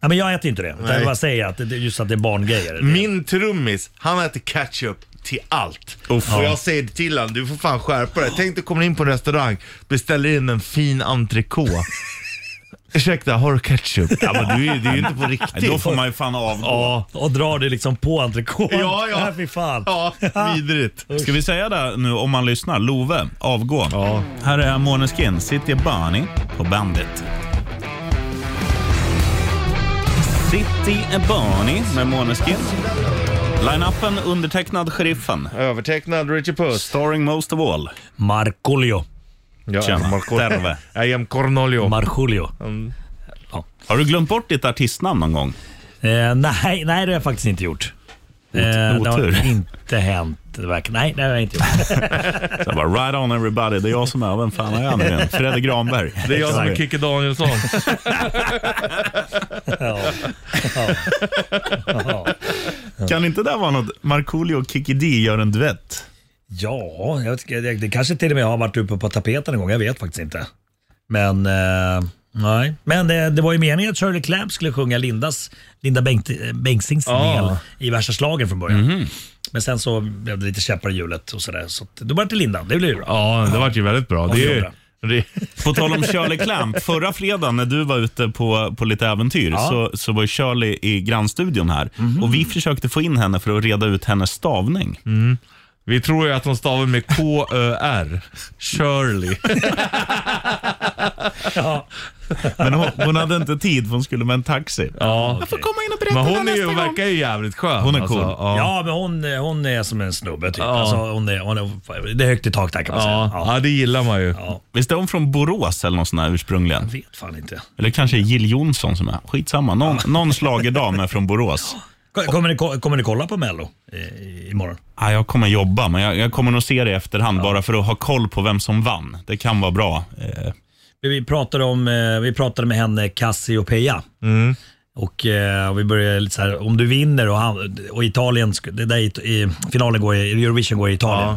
S6: Nej, men jag äter inte det. Utan jag
S3: Nej.
S6: bara säger att det, det- just att det är barngrejer. Det-
S3: Min trummis, han äter ketchup till allt. Och jag säger till honom, du får fan skärpa dig. Tänk dig komma in på en restaurang, beställer in en fin <laughs> entrecote. Ursäkta, har du ketchup? Ja, men du är, du är ju inte på
S2: Nej, Då
S3: riktigt.
S2: får man ju fan avgå.
S3: Ja,
S6: Och drar det liksom på entrecote.
S3: Ja, ja.
S6: Nej, <laughs> fy fan.
S3: ja, <laughs> vidrigt.
S2: Ska vi säga det nu om man lyssnar? Love, avgå. Här är Måneskin, City Bunny på bandet. City Bunny med Måneskin. Line-upen undertecknad Sheriffen.
S3: Övertecknad Richie Puss.
S2: Starring most of all.
S6: Markoolio.
S3: Ja,
S2: Tjena, Terve.
S3: I am Cornolio.
S6: Markoolio.
S2: Har du glömt bort ditt artistnamn någon gång?
S6: Eh, nej, nej, det har jag faktiskt inte gjort. Eh, det har
S10: otur.
S6: inte hänt. verkligen. Nej, det har jag inte gjort.
S2: Så jag bara, right on everybody, det är jag som är, vem fan är jag nu igen? Fredrik Granberg.
S3: Det är jag som är Kikki Danielsson.
S6: Ja. Ja. Ja.
S2: Kan inte det vara något, Markoolio och Kikki D gör en duett?
S6: Ja, jag, tycker- det, det kanske till och med har varit uppe på tapeten en gång. Jag vet faktiskt inte. Men eh, nej. Men det, det var ju meningen att Shirley Clamp skulle sjunga Lindas, Linda Bengt, Bengtzings del i värsta slagen från början. Men sen så blev det lite käppar i hjulet och sådär. Så att då var det till Linda. Det blev ju bra.
S3: <laughs> Ja, det vart ju väldigt bra. Det är ju,
S6: Ja,
S3: det,
S2: På tal om Shirley Clamp, förra fredagen när du var ute på, på lite äventyr så, så var ju Shirley i grannstudion här.
S3: Mhm.
S2: Och Vi försökte få in henne för att reda ut hennes stavning.
S3: <laughs> Mm. vi tror ju att hon stavar med K-Ö-R. Shirley.
S2: Men hon, hon hade inte tid för hon skulle med en taxi.
S3: Ja.
S2: Jag får komma in och berätta
S3: Men
S2: det
S3: hon är ju,
S2: nästa gång.
S3: verkar ju jävligt skön. alltså,
S2: Hon är cool.
S3: ja.
S6: Ja, men hon, hon är som en snubbe typ. Alltså, hon är, hon är, det är högt i tak där kan man säga.
S3: Ja.
S6: Ja.
S3: ja, det gillar man ju.
S2: Visst är hon från Borås eller något sånt där ursprungligen?
S6: Jag vet fan inte.
S2: Eller kanske Jill Johnson som är, skitsamma. Någon, någon schlagerdam är från Borås.
S6: Kommer ni, ko- kommer ni kolla på Mello eh, imorgon?
S2: Ja, Ah, jag kommer jobba, men jag, jag kommer nog se det i efterhand bara för att ha koll på vem som vann. Det kan vara bra. Eh,
S6: Vi pratade, om, eh, vi pratade med henne Cassiopeia. Och eh, vi började lite så här, om du vinner och, han, och Italien, sk- det där i, i, finalen går i, Eurovision går i Italien.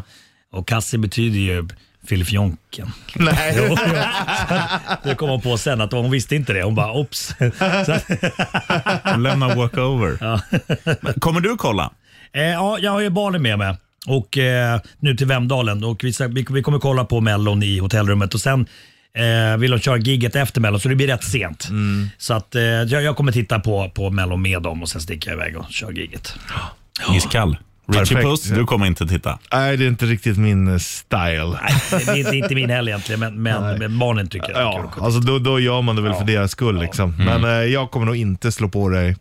S6: Och Cassi betyder ju filfjonken. Nej. <laughs> Jo, jo. Så att Det kom hon på sen, att hon visste inte det. Hon bara ops. Så att-
S2: lämna walkover. <laughs> Men Kommer du kolla?
S6: Eh, ja, jag har ju barnen med mig. Och eh, nu till Vemdalen. Och vi, ska- vi, vi kommer kolla på Mellon i hotellrummet och sen eh, vill de köra gigget efter Mellon så det blir rätt sent.
S3: Mm.
S6: Så att, eh, jag, jag kommer titta på, på Mellon med dem och sen sticker jag iväg och kör gigget.
S2: Iskall. Richie
S3: Perfekt.
S2: Puss, du kommer inte titta.
S3: Nej, det är inte riktigt min eh, style.
S6: Det, det, är inte min helg egentligen men, men, men barnen tycker att det är kul.
S3: Ja, alltså då, då gör man det väl för deras skull liksom.
S2: Mm.
S3: Men eh, jag kommer nog inte slå på dig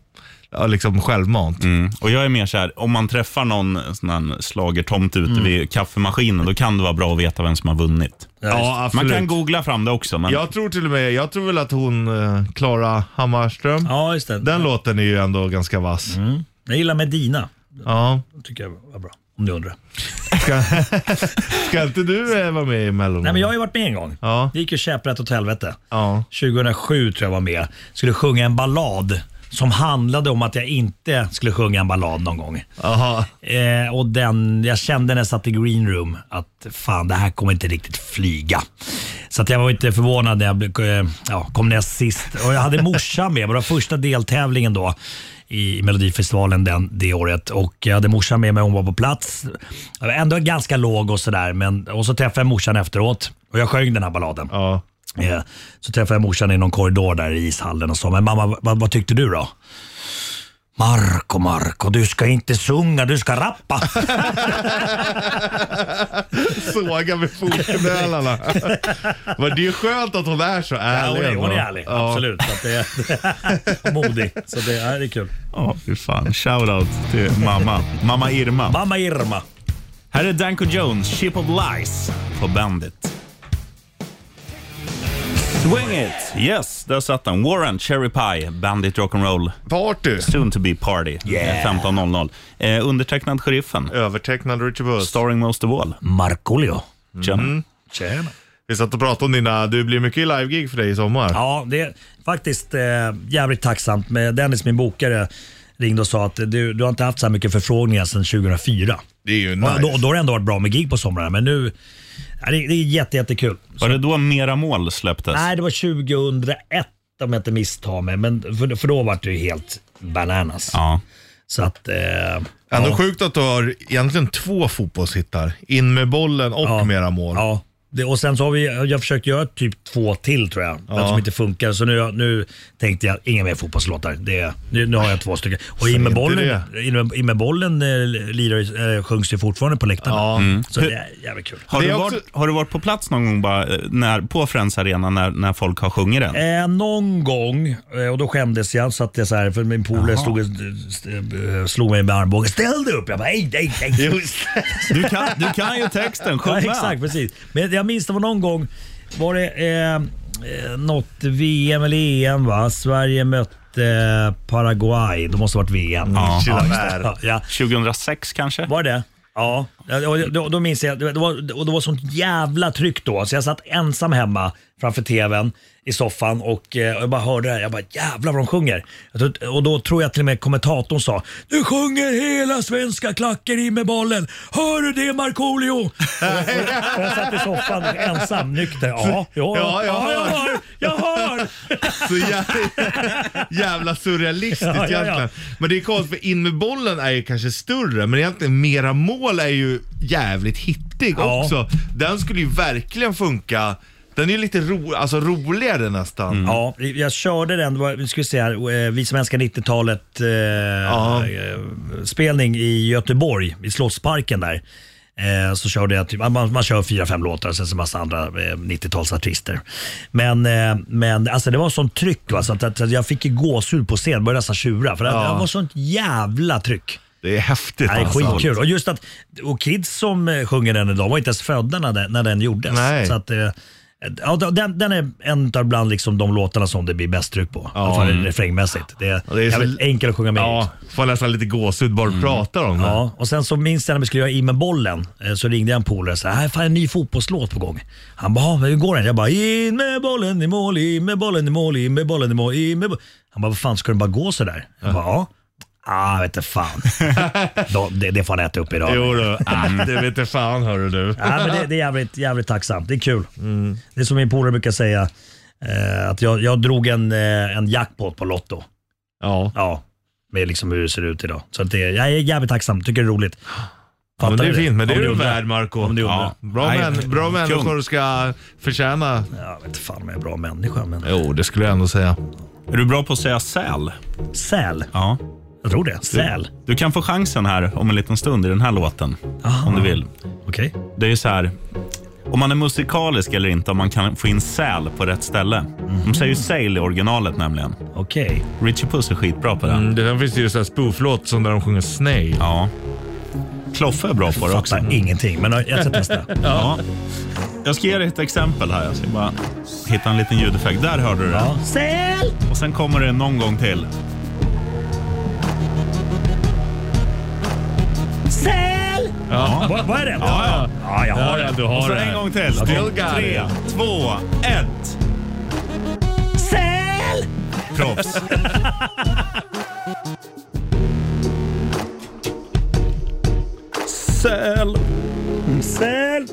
S3: ja, liksom självmant.
S2: Mm. Och jag är mer så här, om man träffar någon sån här schlagertomt ute vid kaffemaskinen, då kan det vara bra att veta vem som har vunnit.
S3: Ja,
S2: Man
S3: absolut.
S2: kan googla fram det också, men
S3: Jag tror till och med, jag tror väl att hon, eh, Klara Hammarström,
S6: Ja, just det.
S3: den låten är ju ändå ganska vass.
S6: Jag gillar Medina.
S3: Ja.
S6: tycker jag var bra. Om du undrar.
S3: Ska, <laughs> ska inte du eh, vara med i Mello?
S6: Nej, men jag har ju varit med en gång.
S3: Ja.
S6: Det gick ju käpprätt åt helvete.
S3: Ja.
S6: 2007 tror jag var med. Skulle sjunga en ballad som handlade om att jag inte skulle sjunga en ballad någon gång.
S3: Aha.
S6: Eh, och den, jag kände när jag satt i green room att fan det här kommer inte riktigt flyga. Så att jag var inte förvånad när jag blev- eh, ja, kom näst sist. Och jag hade morsan med, vår första deltävlingen då i Melodifestivalen den, det året. Och jag hade morsan med mig, hon var på plats. Jag var Ändå ganska låg och sådär. men- Och så träffade jag morsan efteråt och jag sjöng den här balladen.
S3: Ja.
S6: Eh, Så träffade jag morsan i någon korridor där i ishallen och sa, men mamma vad, vad tyckte du då? Marco, Marco, du ska inte sjunga, du ska
S3: <laughs>
S6: rappa.
S3: Såga med
S6: <laughs>
S3: fotknölarna. Men det är ju skönt att hon är så
S6: Ja,
S3: ärlig.
S6: hon, är,
S3: ändå.
S6: hon är ärlig,
S3: Ja.
S6: absolut. Så att det
S3: <laughs>
S6: är, modig, så det är, det är kul.
S2: ja, fy fan. Shoutout till mamma. Mamma Irma.
S6: Mamma Irma.
S2: Här är Danko Jones, Ship of Lies på Bandit. Swing it! Yes, där satt den. Warren, Cherry Pie, Bandit Rock'n'Roll,
S3: Party.
S2: soon to be party.
S6: Yeah.
S2: 15.00. Eh, undertecknad Sheriffen,
S3: Övertecknad Richard Buss.
S2: starring most of all.
S6: Markoolio.
S2: Tjena.
S6: Tjena.
S3: Vi satt och pratade om dina, det blir mycket live-gig för dig i sommar.
S6: Ja, det är faktiskt eh, jävligt tacksamt. Men Dennis, min bokare, ringde och sa att du, du har inte haft så här mycket förfrågningar sedan 2004.
S3: Det är ju
S6: Och Då, då har det ändå varit bra med gig på somrarna, men nu... Ja, det, det är jätte, jättekul.
S2: Var det då Mera Mål släpptes?
S3: Alltså-
S6: Nej, det var 2001 om jag inte misstar mig. Men för, för då var det ju helt bananas.
S2: Ja.
S6: Så att... Eh,
S3: Ändå
S6: ja,
S3: sjukt att du har egentligen två fotbollshittar. In med bollen och
S6: Ja.
S3: mera mål.
S6: ja. Det, och sen så har vi, jag har försökt göra typ två till tror jag, men som inte funkar. Så nu, nu tänkte jag, inga mer fotbollslåtar. Det, nu, nu har jag två stycken. Och in med
S3: inte
S6: bollen, in med, in med bollen eh, lirar, ju- eh, sjungs ju fortfarande på läktarna. Så det är jävligt kul.
S2: Har
S3: Det
S2: du,
S3: är
S2: varit,
S3: också-
S2: har du varit på plats någon gång bara, eh, när, på Friends Arena när, när folk har sjungit
S3: <laughs>
S2: den?
S6: Eh, någon gång, eh, och då skämdes jag så att jag så här, för min polare stod och, st- eh, slog mig med armbågen. Ställ dig upp! Jag bara, nej, nej, <laughs> nej.
S2: Du kan, du kan ju texten, sjung
S3: <laughs>
S6: Ja,
S2: med.
S6: exakt, precis. Men jag minns det var någon gång, var det, eh, eh, något VM eller EM va? Sverige mötte eh, Paraguay. Det måste ha varit VM. <laughs> Ja,
S3: Chilla
S6: just
S3: med.
S6: det. ja.
S2: 2006 kanske?
S6: Var det? Ja, Ja, och då, då minns jag. Det var, och det var sånt jävla tryck då, så jag satt ensam hemma framför tvn i soffan och, eh, och jag bara hörde det här. Jag bara jävlar vad de sjunger. Jag tror- Och då tror jag till och med kommentatorn sa Nu sjunger hela svenska klacken in med bollen. Hör du det Markoolio? Och jag- och jag- och jag satt i soffan ensam nykter. Ja, ja,
S3: Ja,
S6: ja,
S3: jag
S6: jag hör. Jag hör.
S3: Så jävla, <laughs> jävla surrealistiskt
S6: Ja, ja, ja.
S3: egentligen. Men det är konstigt för in med bollen är ju kanske större, men egentligen mera mål är ju jävligt hittig
S6: Ja.
S3: också. Den skulle ju verkligen funka. Den är ju lite ro, alltså roligare nästan.
S6: Ja, jag körde den, det var- vi ska se här, eh, Vi som älskar 90-talet eh, eh, spelning i Göteborg, i Slottsparken där. Eh, så körde jag, typ, man, man kör fyra, fem låtar och sen så massa andra eh, 90-talsartister. Men, eh, men alltså det var sånt tryck va, så att, att, att jag fick ju gåshud på scen, började nästan tjura för det, det var sånt jävla tryck.
S3: Det är häftigt
S6: Nej,
S3: alltså.
S6: skitkul. Och just att och kids som eh, sjunger den idag var inte ens födda när den, när den gjordes.
S3: Nej.
S6: Så att, eh, ja, den, den är en av bland liksom de låtarna som det blir bäst tryck på. I alla fall refrängmässigt. Det är,
S3: Ja, det är så-
S6: jävligt enkelt att sjunga med i.
S3: Ja, får nästan lite gåshud bara mm. prata om det.
S6: Ja, och sen så minns jag när vi skulle göra i med bollen eh, så ringde jag en polare och sa här är fan en ny fotbollslåt på gång. Han bara, "Ja, men hur går den? Jag bara, in med bollen i mål, in med bollen i mål, in med bollen i mål, in med bo-" Han bara, vad fan ska den bara gå sådär? Jag bara, ja. Ah, vet inte fan.
S3: <laughs>
S6: Då- det, det får han äta upp idag.
S3: Jo då, ah, det vet jag fan hörru du.
S6: Ja, men det, det är jävligt, jävligt tacksamt. Det är kul. Det är som min polare brukar säga, eh, att jag, jag drog en, eh, en jackpot på Lotto.
S3: Ja.
S6: Ja, med liksom hur det ser ut idag. Så att det, jag är jävligt tacksam, tycker det är roligt.
S3: Ja, men det är fint, men det är
S6: Om du
S3: du
S6: undrar.
S3: värd Marco.
S6: Om du undrar.
S3: Ja, bra, män, bra människor ska förtjäna.
S6: Jag vet inte fan om jag är en bra människa, men
S3: Jo, det skulle jag ändå säga.
S2: Är du bra på att säga säl?
S6: säl.
S2: Ja.
S6: Jag tror det. Säl.
S2: Du kan få chansen här om en liten stund i den här låten. Om du vill.
S6: Okej.
S2: Det är ju så här. Om man är musikalisk eller inte, om man kan få in säl på rätt ställe. De säger ju
S3: Mhm.
S2: sail i originalet nämligen.
S6: Okej.
S2: Richie Puss är skitbra på det.
S3: Mm, det- sen finns det ju så här spooflåt som där de sjunger Snail.
S2: Ja. Kloffe är bra på det också.
S6: Fattar ingenting, men jag
S3: <laughs>
S6: ska testa.
S2: Ja. Jag ska ge dig ett exempel här. Jag ska bara hitta en liten ljudeffekt. Där hörde du det.
S6: Ja. Säl!
S2: Och sen kommer det någon gång till.
S6: Säl! Ja. Vad vad är det? Ja,
S2: ja.
S6: jag har
S3: ja,
S6: det.
S3: du har
S2: Och så
S3: det här.
S2: en gång till.
S3: Still
S2: Och
S3: got it.
S2: Tre, två, ett.
S6: Säl!
S2: Proffs. Säl.
S6: Säl!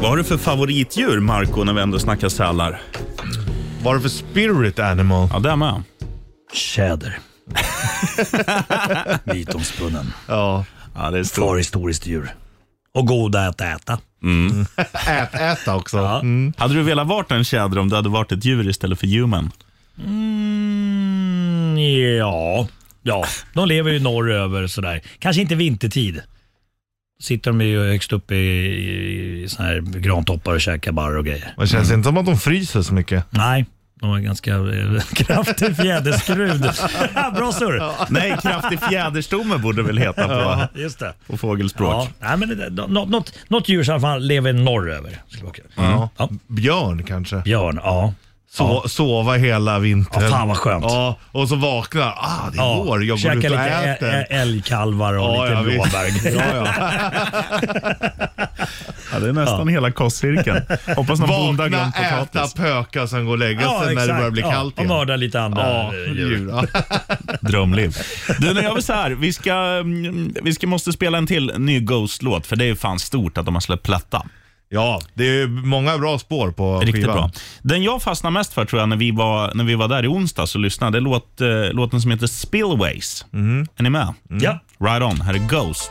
S2: Vad har du för favoritdjur, Marco, när vi ändå snackar sälar?
S3: Vad är det för spirit animal?
S2: Ja, det är med.
S6: <laughs> Tjäder. Mytomspunnen.
S3: Ja.
S2: Ja, det är stort.
S6: Förhistoriskt djur. Och goda att äta.
S3: Ät, äta också.
S6: Ja.
S3: Mm.
S2: Hade du velat vara en tjäder om du hade varit ett djur istället för human?
S6: Mm, ja. ja, de lever ju norröver sådär. Kanske inte vintertid. Sitter de ju högst upp i, i, i såna här grantoppar och käkar barr och grejer.
S3: Men det känns inte som att de fryser så mycket.
S6: Nej, de har ganska eh, <laughs> kraftig fjäderskrud. <laughs> Bra surr!
S2: Nej, kraftig fjäderstomme borde väl heta på,
S6: Just det.
S2: på fågelspråk.
S6: Ja, nej, men det, nå- något, något djur som i alla fall lever norröver. skulle vara kul. Mm. Ja.
S3: Björn kanske.
S6: Björn, ja.
S3: So- Sova hela vintern.
S6: Ja, fan vad skönt.
S3: Ja, och så vaknar. Ah, det är
S6: Ja,
S3: vår. Jag går ut och
S6: Käka lite ä-
S3: äter.
S6: ä- älgkalvar och
S3: Ja, ja,
S6: lite
S3: visst.
S6: blåbär.
S3: <laughs> Ja,
S6: <laughs>
S3: ja.
S2: Ja, det är nästan hela kostcirkeln. Hoppas någon bonde har
S3: Vakna,
S2: glömt
S3: äta,
S2: potatis.
S3: pöka och sen gå och lägga sig när det börjar bli
S6: ja,
S3: kallt
S6: Och
S3: igen.
S6: mörda lite andra
S3: Ja,
S6: eh, djur.
S3: djur. Ja.
S2: Drömliv. Du, nu gör vi så här. Vi, ska, mm, vi ska, måste spela en till ny Ghost-låt, för det är ju fan stort att de har släppt platta.
S3: <laughs> Ja, det är ju många bra spår på
S2: Riktigt
S3: skivan.
S2: bra. Den jag fastnade mest för tror jag när vi var, när vi var där i onsdags och lyssnade, det är låt, eh, låten som heter Spillways.
S3: Mhm.
S2: Är ni med?
S3: Mm.
S6: Ja.
S2: Right on. Här är Ghost.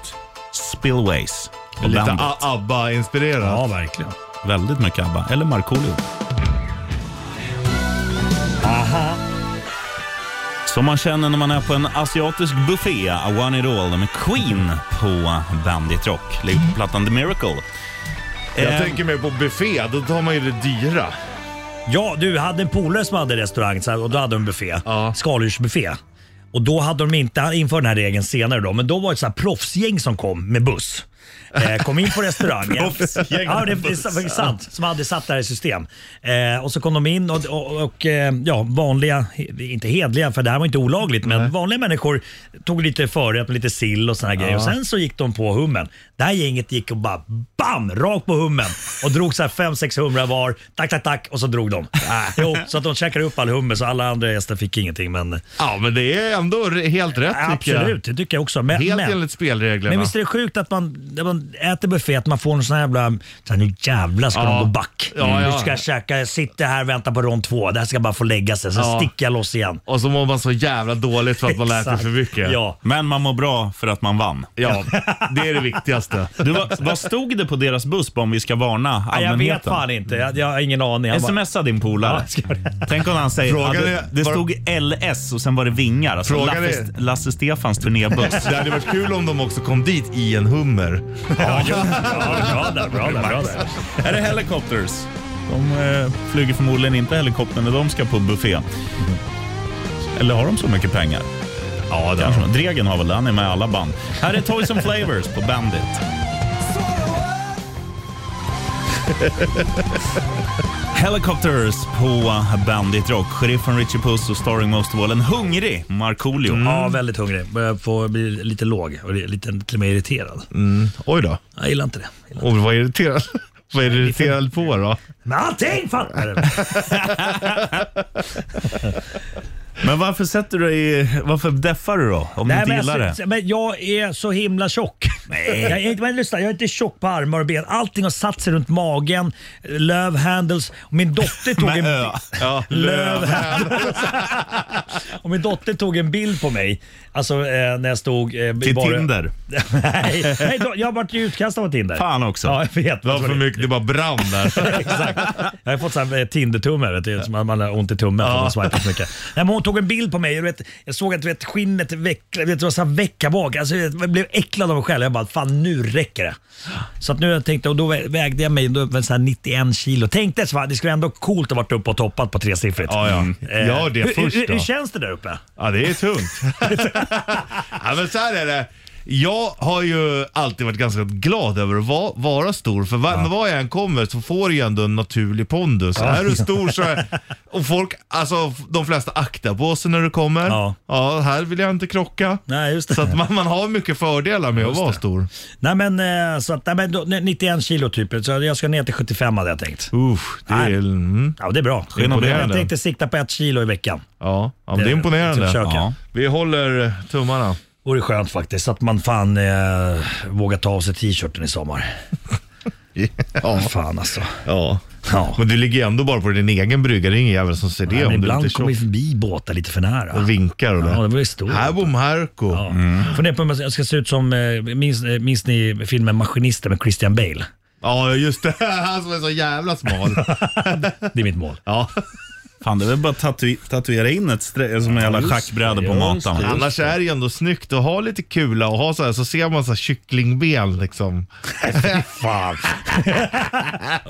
S2: Spillways. Och
S3: Lite
S2: Bandit.
S3: A- ABBA-inspirerat.
S6: ja, verkligen.
S2: Väldigt mycket ABBA. Eller Markoolio.
S6: Aha.
S2: Som man känner när man är på en asiatisk buffé. I want it all med Queen på Bandit Rock. Ligger på plattan The Miracle.
S3: Jag
S2: Eh,
S3: tänker mig på buffé, då tar man ju det dyra.
S6: Ja, du hade en polare som hade restaurang så här, och då hade de en buffé.
S3: Ja.
S6: Skaldjursbuffé. Och då hade de inte, han införde den här regeln senare då, men då var det ett så här proffsgäng som kom med buss. Eh, kom in på restaurangen.
S10: Proffsgäng.
S6: ja, det det är sant- sant. Som hade satt det här i system. Eh, och så kom de in och, och, och eh, ja, vanliga, inte hedliga för det här var inte olagligt, men vanliga människor tog lite förrätt med lite sill och såna här grejer. Och sen så gick de på hummen. Det här gänget gick och bara BAM! Rakt på hummen och drog så här fem, sex humrar var. Tack, tack, tack och så drog de. Jo, så att de käkade upp all hummer så alla andra gäster fick ingenting. Men
S3: Ja, men det är ändå re- helt rätt tycker
S6: absolut, det tycker jag också. Men,
S3: jag. Helt
S6: men,
S3: enligt spelreglerna.
S6: men visst är det sjukt att man, när man äter buffé, att man får en sån här jävla, så här, nu jävlar ska de
S3: Ja.
S6: gå back.
S3: Ja, ja.
S6: Nu ska jag käka, jag sitter här och väntar på rond två. Det här ska bara få lägga sig, sen
S3: Ja.
S6: sticker jag loss igen.
S3: Och så mår man så jävla dåligt för att man lär sig
S6: Exakt.
S3: för mycket.
S6: Ja.
S2: Men man mår bra för att man vann.
S3: ja det är det viktigaste.
S2: Du,
S6: <laughs>
S2: vad, vad stod det på deras buss på om vi ska varna
S6: Nej, jag
S2: allmänheten?
S6: vet fan inte, jag, jag har ingen aning. Jag bara,
S2: Smsa din polare.
S6: Ja, ska jag
S2: Tänk om han säger
S3: Frågan
S2: ja,
S3: är-
S2: det, det
S3: var-
S2: stod LS och sen var det vingar. Alltså
S3: Frågan
S2: Lasse,
S3: är-
S2: Lasse Stefans
S6: <laughs>
S2: turnébuss.
S3: <laughs> Det hade varit kul om de också kom dit i en hummer.
S6: ja, bra där, bra där, bra
S3: Mm.
S6: där.
S2: är det helikopters? De eh, flyger förmodligen inte helikoptern när de ska på buffé. Eller har de så mycket pengar? Ja, det har de. Dregen har väl det. Han är med i alla band. Här är Toys and Flavors på Bandit. Helicopters på Bandit Rock. Sheriffen Richie Puss och starring most of all en hungrig Markoolio.
S3: Mm.
S6: Ja, väldigt hungrig. Börjar få bli lite låg och lite, till och med irriterad.
S3: Oj då.
S6: Jag gillar inte det. Jag Gillar inte
S3: Och vad irriterad. <laughs> Vad är du irriterad på då?
S6: det. Men allting! Fan! Nej, det-
S2: Men varför sätter du dig i... Varför deffar du då? Om du inte
S6: men
S2: gillar
S6: alltså,
S2: det?
S6: Men jag är så himla tjock. <laughs> Jag, är, inte- men lyssna, jag är inte tjock på armar och ben. Allting har satt sig runt magen, love handles. Och min dotter
S2: <laughs>
S6: tog en...
S2: ö.
S3: Ja,
S6: Love handles. och min dotter tog en bild på mig. Alltså eh, när jag stod... Eh, i
S2: Till
S6: bara-
S2: Tinder?
S6: <laughs> nej, nej, då, jag vart ju utkastad av Tinder.
S2: Fan också.
S6: Ja, jag vet.
S3: Det var för mycket, det bara brann <laughs> där.
S6: <laughs> Exakt. Jag har fått sån här eh, Tinder-tumme, vet du, som man, man har ont i tummen för att man swipar så mycket. Nej, men hon tog en bild på mig och du vet, jag såg att du vet, skinnet vecklade, vet, det var så här vecka bak. Alltså, jag blev äcklad av mig själv. Jag bara, fan nu räcker det. Så att nu jag tänkte, och då vä- vägde jag mig då, var det så här 91 kilo. Tänkte så här, det skulle ändå coolt att varit uppe och toppat på tresiffrigt.
S3: Ja, ja.
S6: Eh,
S3: Gör det
S6: hur,
S3: först
S6: hur,
S3: då.
S6: hur känns det där uppe?
S3: Ja, det är tungt. <laughs> ja, men så här är det. Jag har ju alltid varit ganska glad över att vara, vara stor, för var, var jag än kommer så får jag ändå en naturlig pondus. Är du stor så
S6: <laughs>
S3: är, Och folk, alltså de flesta aktar på sig när du kommer.
S6: Ja.
S3: här vill jag inte krocka.
S6: Nej, just det.
S3: Så att man, man har mycket fördelar med att vara stor.
S6: Nej men, eh, så att, nej, men då, 91 kilo typ. Så jag ska ner till 75 hade jag tänkt.
S3: Usch, det är...
S6: Nej.
S3: Mm,
S6: Ja, det är bra.
S3: Imponerande.
S6: Jag tänkte sikta på ett kilo i veckan.
S3: ja, ja, men det är imponerande.
S6: Försöka.
S3: Ja. Vi håller tummarna.
S6: vore skönt faktiskt. Så att man fan eh, vågar ta av sig t-shirten i sommar. Ja. Fan alltså.
S3: Ja.
S6: Ja.
S3: Men du ligger ju ändå bara på din egen brygga. Det är ingen jävel som ser det
S6: Men
S3: om du inte är
S6: ibland kommer vi
S3: tjock
S6: förbi båtar lite för nära.
S3: och Mm. vinkar och
S6: Ja, det var ju stort.
S3: Här bor Marco.
S6: Ja. Fundera på om jag ska se ut som, eh, minns, eh, minns ni filmen Maskinisten med Christian Bale?
S3: Ja, just det. <laughs> Han som är så jävla
S6: <laughs>
S3: smal.
S6: Det är mitt mål.
S3: Ja.
S2: Fan, det är väl bara att tatu tatuera in ett strä- som en jävla schackbräde på matan.
S3: Annars är det ju ändå snyggt att ha lite kula och ha så här så ser man så här kycklingben liksom. <laughs> Fan.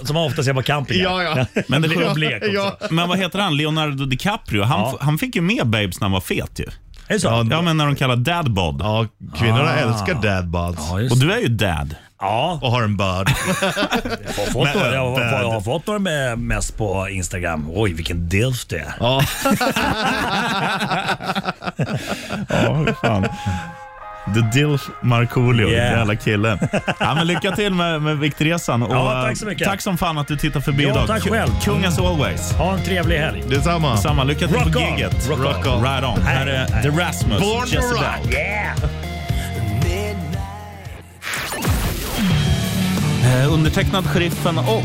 S6: Som man ofta ser på campingen.
S3: Ja, <laughs> ja.
S6: Men det är blek också.
S3: Ja.
S2: Men vad heter han? Leonardo DiCaprio? Han,
S6: Ja.
S2: han fick ju med Babes när han var fet ju.
S6: Är det så?
S2: Ja,
S6: Ja,
S2: men när de kallar dad bod.
S3: Ja, kvinnorna
S6: Ah.
S3: älskar dad buds.
S6: just
S2: Och
S6: det.
S2: du är ju dad.
S6: Ja,
S3: Och har en bud.
S6: jag har fått några, jag har, jag har fått några med, mest på Instagram. Oj, vilken dilf det är.
S3: <laughs> Ja.
S2: Ja, fan. The Dilf Markoolio,
S6: Yeah.
S2: yeah. jävla
S6: <laughs>
S2: killen. Ja, men lycka till med, med viktresan. Och,
S6: Ja,
S2: eh,
S6: tack så mycket.
S2: Tack som fan att du tittar förbi
S6: Ja,
S2: idag.
S6: tack
S2: Ku-
S6: själv.
S2: Kung as always.
S6: Ha en trevlig helg.
S3: Detsamma.
S2: Samma, lycka till
S6: Rock
S2: på
S6: on.
S2: giget.
S6: Rock on.
S2: Right on. Här är The Rasmus,
S3: Born to
S2: Jezebel.
S3: rock.
S6: Yeah!
S2: Eh, Undertecknad Sheriffen och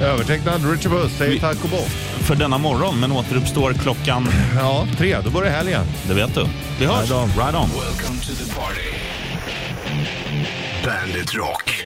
S3: Övertecknad Richard Buss säger tack och bock.
S2: för denna morgon, men återuppstår klockan,
S3: Ja, tre. Då börjar helgen.
S2: det vet du. Vi hörs.
S3: Right on.
S2: Right on.
S1: Welcome to the party. Bandit Rock.